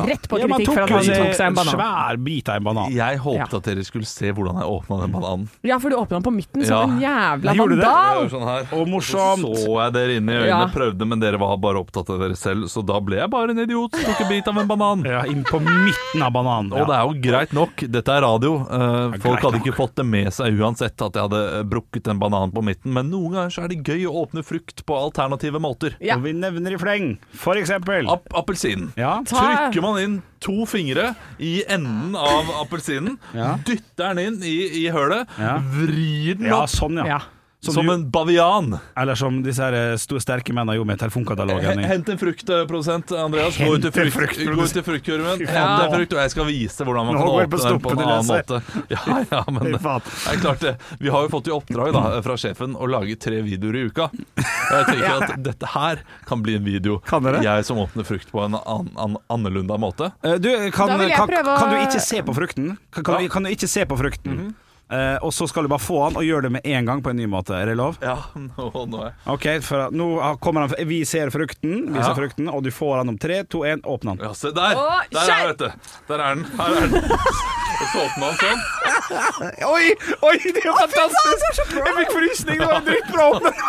rett på
Ja, man
kritikk for at
jo
han tok seg en banan.
svær bit av en banan.
Jeg håpet
Ja.
at dere skulle se hvordan jeg åpna den bananen.
Ja, for du åpna den på midten som
Ja.
en jævla
Gjorde du det?
Jeg
vandal!
gjorde sånn her.
Og morsomt.
Så jeg dere inn i øynene,
Ja.
prøvde, men dere var bare opptatt av dere selv, så da ble jeg bare en idiot som tok en bit av en banan.
*laughs* Ja, inn på midten av bananen.
Og det
Ja.
er jo greit nok, dette er radio. Eh, folk
greit
hadde
nok.
ikke fått det med seg uansett at jeg hadde eh, brukket en banan på midten, men noen ganger så er det gøy å åpne frukt på alternative måter.
Ja.
Og vi nevner i fleng, for eksempel.
Ap appelsinen.
Ja.
Ta-
Trykker man inn to fingre i enden av appelsinen,
Ja.
dytter den inn i, i hølet,
Ja.
vrir den
ja,
opp
sånn, ja.
Ja.
Som,
som
du,
en bavian.
Eller som disse her eh, sto- sterke mennene gjorde med telefonkatalogen.
H-
i-
Hent en fruktprodusent, Andreas. Gå
Hent
ut i,
en
frukt,
fruktprodusent.
gå ut i fruktkurven.
faen,
Hent en
nå.
frukt, og jeg skal vise hvordan man
Nå
kan
går jeg på
åpne den på en
stumpene
annen måte. *laughs*
løs
Ja, ja, men
Fy
det
faen.
er klart det. Vi har jo fått i oppdrag da, fra sjefen å lage tre videoer i uka. Og
*laughs*
jeg tenker at dette her kan bli en video.
Kan dere?
Jeg som åpner frukt på en an an annerledes måte.
Eh, Du, kan,
Da vil jeg
kan,
prøve å-
kan du ikke se på frukten? Kan, kan,
Ja.
du, kan du ikke se på frukten? Eh, og så skal du bare få den, og gjøre det med en gang på en ny måte. Er det lov?
Ja, nå, nå er jeg
Ok, for at nå har- kommer han Vi ser frukten, vi
Ja.
ser frukten og du får den om tre, to, én, åpne den.
Ja, se der!
Å,
der er
skjerp!
den, vet du. Der er den. Her er den. *laughs* Og så åpner man sånn.
Oi, oi, det er jo fantastisk! Jeg fikk frysning, det var en dritbra
*laughs*
åpning.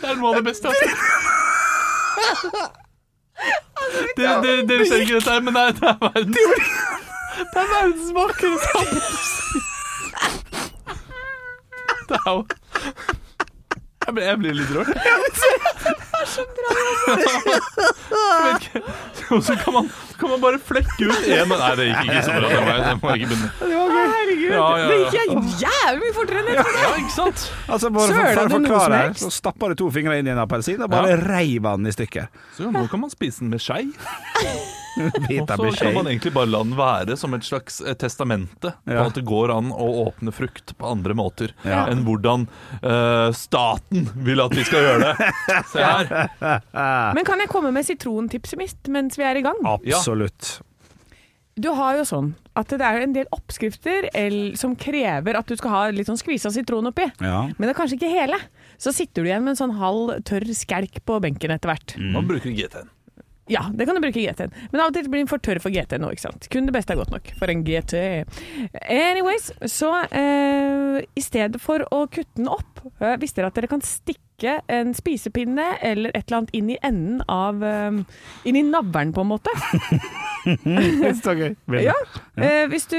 Det er noe av det beste. Altså. Dere, dere, dere ser ikke dette her, men det er, det er verdens Det er verdens vakreste appelsin. Det er jo Jeg blir, jeg blir litt rørt. Det er så bra. Og så kan man, kan man bare flekke ut én Nei, det gikk ikke så bra. Det må jeg, det må jeg ikke begynne
Herregud,
Ja,
*laughs*
ja,
det
ja.
gikk jeg jævlig mye fortere enn jeg trodde!
Ja, ikke sant?
Altså, bare for,
Søren,
for å
hadde du noe som
forklare her,
helst?
så stappa du to fingre inn i en appelsin og bare
Ja.
reiv den i stykker.
Så nå kan man spise den med skei.
Bit av
Og så kan man
beskjed.
egentlig bare la den være som et slags eh, testamente på
Ja.
at det går an å åpne frukt på andre måter
Ja.
enn hvordan eh, staten vil at vi skal gjøre
*laughs*
det. Se her.
Men kan jeg komme med sitrontipset mitt mens vi er i gang?
Absolutt.
Du har jo sånn at det er jo en del oppskrifter el- som krever at du skal ha litt sånn skvisa sitron oppi.
Ja.
Men det er kanskje ikke hele. Så sitter du igjen med en sånn halv tørr skelk på benken etter hvert.
Mm.
Man bruker GT-en.
Ja, det kan du bruke i GT-en. Men av og til blir den for tørr for GT nå, ikke sant. Kun det beste er godt nok for en GT. Anyways, så eh, i stedet for å kutte den opp, eh, visste dere at dere kan stikke en spisepinne eller et eller annet inn i enden av eh, Inn i navlen, på en måte. Ja. Eh, hvis, du,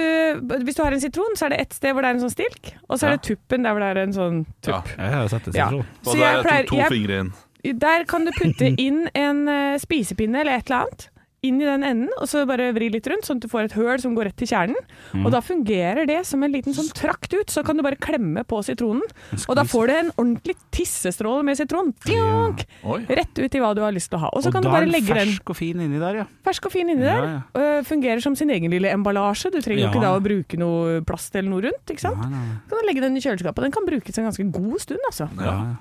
hvis du har en sitron, så er det ett sted hvor det er en sånn stilk, og så er
Ja.
det tuppen der hvor det er en sånn tupp.
Jeg har sett det,
Ja.
sitron.
Og
Så
der er
jeg
to,
pleier,
to
jeg,
fingre inn.
der kan du putte inn en eh, spisepinne eller et eller annet. Inn i den enden, og så bare vri litt rundt, sånn at du får et høl som går rett til kjernen. Og da fungerer det som en liten sånn trakt ut, så kan du bare klemme på sitronen. Og da får du en ordentlig tissestråle med sitron. Tjonk!
Oi.
Rett ut i hva du har lyst til å ha. Og så
Og
kan du
da er
bare
den
legge den
fersk og fin inni der, ja.
fersk og fin inni der.
Ja,
øh, Fungerer som sin egen lille emballasje. Du trenger jo
Ja.
ikke da å bruke noe plast eller noe rundt. ikke sant?
Nei, nei, nei.
Så kan du legge den i kjøleskapet. Den kan brukes en ganske god stund, altså.
Ja.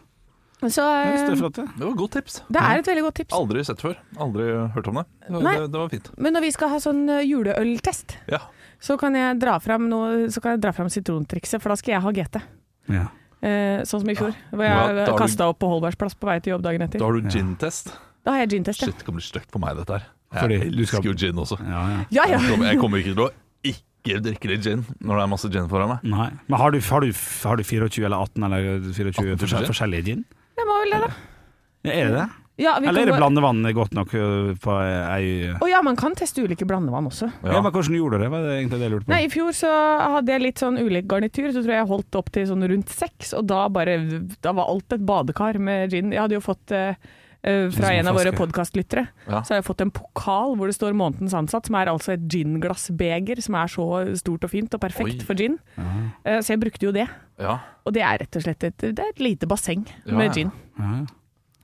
Jeg
Så
synes
eh,
det er flott, det.
Det var et godt tips.
det er et veldig godt tips.
Aldri sett før. Aldri hørt om det. Det,
Nei.
det, det var fint.
Men når vi skal ha sånn eh, juleøltest,
Ja.
så kan jeg dra fram, noe, så kan jeg dra fram sitrontrikset, for da skal jeg ha GT.
Ja.
Eh, sånn som i fjor, hvor
Ja, da
jeg
har du-
kasta opp på Holbergsplass på vei til jobb dagen etter.
Da har du gin-test.
Da har jeg gintest,
Shit,
ja.
det kommer til å bli stygt for meg, dette her. Jeg
Fordi du skal-
elsker jo gin også.
Ja, ja.
Ja, ja.
Jeg kommer, jeg kommer ikke til å ikke drikke litt gin når det er masse gin foran meg.
Nei. Men har du, har, du, har du 24 eller 18 eller 24 forskjell-
18 forskjellige?
forskjellige gin?
Jeg må vel det, da.
Ja, er det det?
Ja, vi
Eller er
kan
det
gå-
blande vannet godt nok ø, på ei
Å ja, man kan teste ulike blandevann også.
ja. men Hvordan gjorde du det? Var det egentlig det jeg lurte på?
Nei, I fjor så hadde jeg litt sånn ulik garnitur, så tror jeg jeg holdt opp til sånn rundt seks, og da bare Da var alt et badekar med gin. Jeg hadde jo fått eh, eh, fra
Som en
en av våre
flaske.
podkastlyttere
Ja.
Så har jeg fått en pokal hvor det står 'Månedens ansatt', som er altså et ginglassbeger som er så stort og fint og perfekt
Oi.
for gin. Eh, Så jeg brukte jo det.
Ja.
Og det er rett og slett et, det er et lite basseng
Ja, ja.
med gin.
Ja, ja.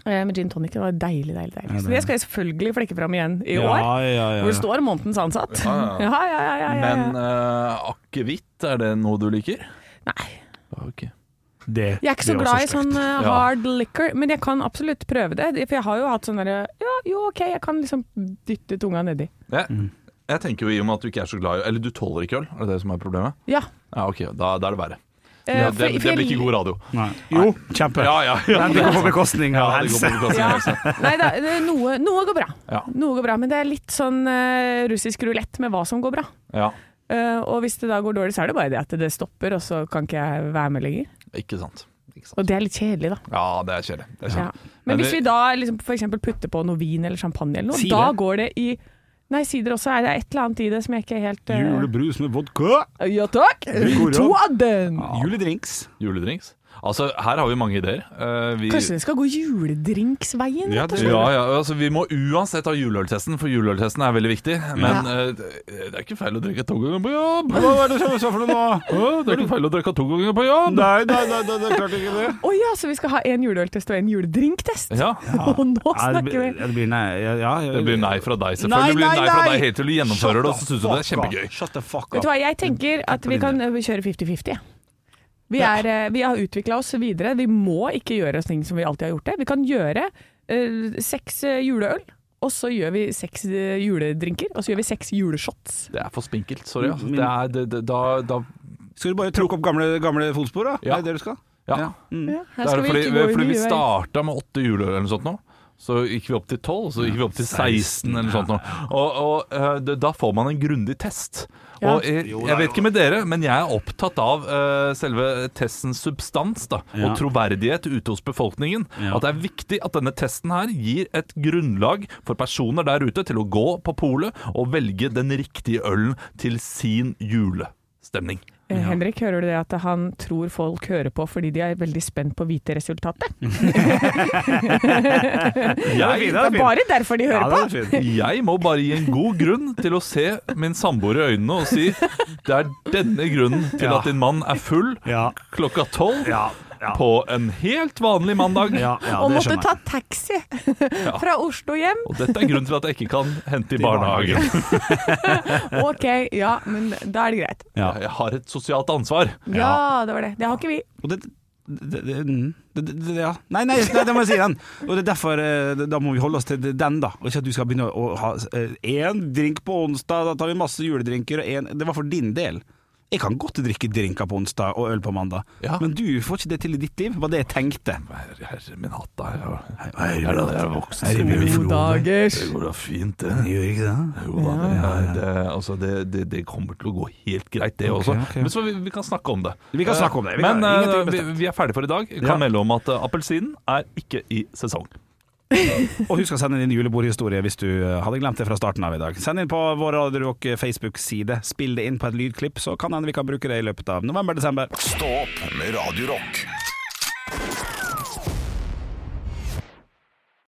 Eh, Med gin tonic. Det var deilig, deilig. deilig. Så det skal jeg selvfølgelig flekke fram igjen i
ja,
år.
ja, ja.
Hvor det står 'månedens ansatt'. *laughs* Ja,
Ja, ja.
ja, ja. ja, ja, ja.
Men eh, akevitt, er det noe du liker?
Nei.
Ok.
Det-
Jeg er ikke så
det også
glad i
slekt.
sånn eh,
Ja.
hard liquor, men jeg kan absolutt prøve det. For jeg har jo hatt sånn derre ja, Jo, OK, jeg kan liksom dytte tunga nedi.
Mm.
Jeg, jeg tenker jo i og med at du ikke er så glad i Eller du tåler ikke øl, er det det som er problemet?
Ja.
Ja, ok, da, da er det verre.
eh, for-
Ja, det,
for
det
jeg
blir ikke
lik-
god radio.
Nei. Jo, kjempe.
Ja, ja, ja.
Men det går på bekostning av
Ja, det går
helse.
på bekostning av
*laughs*
helse.
Nei da, det, noe, noe går bra.
Ja.
Noe går bra, men det er litt sånn eh, russisk rulett med hva som går bra.
Ja,
Eh, og hvis det da går dårlig, så er det bare det at det stopper, og så kan ikke jeg være med lenger.
ikke sant. Ikke sant.
Og det er litt kjedelig, da.
Ja, det er kjedelig. Det er
Ja.
kjedelig.
Men
Men
hvis
det-
vi da liksom f.eks. putter på noe vin eller champagne eller noe,
Sider.
da går det i Nei, sider også. Er det et eller annet i det som jeg ikke er helt eh,
Julebrus med vodka.
Ja takk!
Julekoran.
To av dem!
Juledrinks.
Juledrinks. Altså, her har vi mange ideer. Eh, vi,
Kanskje det skal gå juledrinksveien?
Ja,
rett og
det-
slett?
ja, ja, altså, vi må uansett ha juleøltesten, for juleøltesten er veldig viktig. Men eh, det er ikke feil å drikke to ganger på jobb.
Hva var det du sa for noe nå?
Å, Det er ikke feil å drikke to ganger på jobb.
Nei, nei, nei, nei, det klarte ikke det.
Å ja, så vi skal ha en juleøltest og en juledrinktest?
Ja.
*laughs* Og nå
Ja, det
snakker vi!
blir- ja, det blir nei. Ja, ja, ja.
Det blir nei fra deg, selvfølgelig. Det blir nei fra deg helt til du gjennomfører det, og så syns du det
Shut
er
the fuck
kjempegøy.
up. Shut the fuck
Vet
up.
du hva, jeg tenker at vi kan eh, kjøre 50-50. jeg. Vi, er, eh, vi har utvikla oss videre. Vi må ikke gjøre oss ting som vi alltid har gjort det. Vi kan gjøre eh, seks eh, juleøl, og så gjør vi seks eh, juledrinker, og så gjør vi seks juleshots.
Det er for spinkelt, sorry. Altså. Det er, det, det, da, da,
Skal du bare tråkke opp gamle, gamle fotspor, da?
Ja.
Er det det du skal?
ja.
Ja, her
Det er
skal vi
fordi,
ikke gå
fordi vi
nye veier.
starta med åtte juleøl eller noe sånt nå. Så gikk vi opp til tolv, så gikk vi opp til 16 eller noe sånt.
*laughs*
nå. Og, og eh, det, da får man en grundig test.
Ja.
Og jeg, jeg vet ikke med dere, men jeg er opptatt av eh, selve testens substans da,
Ja.
og troverdighet ute hos befolkningen.
Ja.
At det er viktig at denne testen her gir et grunnlag for personer der ute til å gå på polet og velge den riktige ølen til sin julestemning.
Eh, Henrik, hører du det at han tror folk hører på fordi de er veldig spent på å vite resultatet?
Jeg
Det er bare derfor de hører på!
det er fint.
Jeg må bare gi en god grunn til å se min samboer i øynene og si det er denne grunnen til
Ja.
at din mann er full
Ja.
klokka tolv
Ja. ja.
på en helt vanlig mandag.
Ja, ja,
Og
det
måtte
skjønner jeg.
ta taxi *laughs* fra Oslo hjem.
Og dette er grunnen til at jeg ikke kan hente i barnehagen.
Ok, ja, men da er det greit.
Ja.
Jeg har et sosialt ansvar.
Ja, det var det. Det har ikke vi.
Og det, det, det, mm, det, det- det ja. Nei, nei, nei, det må jeg si den. Og det er derfor eh, Da må vi holde oss til den, da. Og ikke at du skal begynne å ha eh, én drink på onsdag, da tar vi masse juledrinker og én Det var for din del. Jeg kan godt drikke drinker på onsdag og øl på mandag,
Ja.
men du får ikke det til i ditt liv, var det jeg tenkte.
Herre herre min hatt, da. Jeg, jeg, jeg, jeg er voksen.
To dagers.
Det går da fint, det.
Gjør ikke det?
Jo da, det, er- det, altså det, det, det kommer til å gå helt greit, det også.
ok.
Men så vi, vi kan snakke om det.
Vi kan snakke om det. Vi kan,
Men eh,
ingenting
vi,
bestemt.
vi er ferdige for i dag. Kan
Ja.
melde om at eh, appelsinen er ikke i sesong.
Og husk å sende inn julebordhistorie hvis du eh, hadde glemt det fra starten av i dag. Send inn på vår Radio Rock Facebook-side. Spill det inn på et lydklipp, så kan hende vi kan bruke det i løpet av november-desember.
Stå opp med Radio Rock.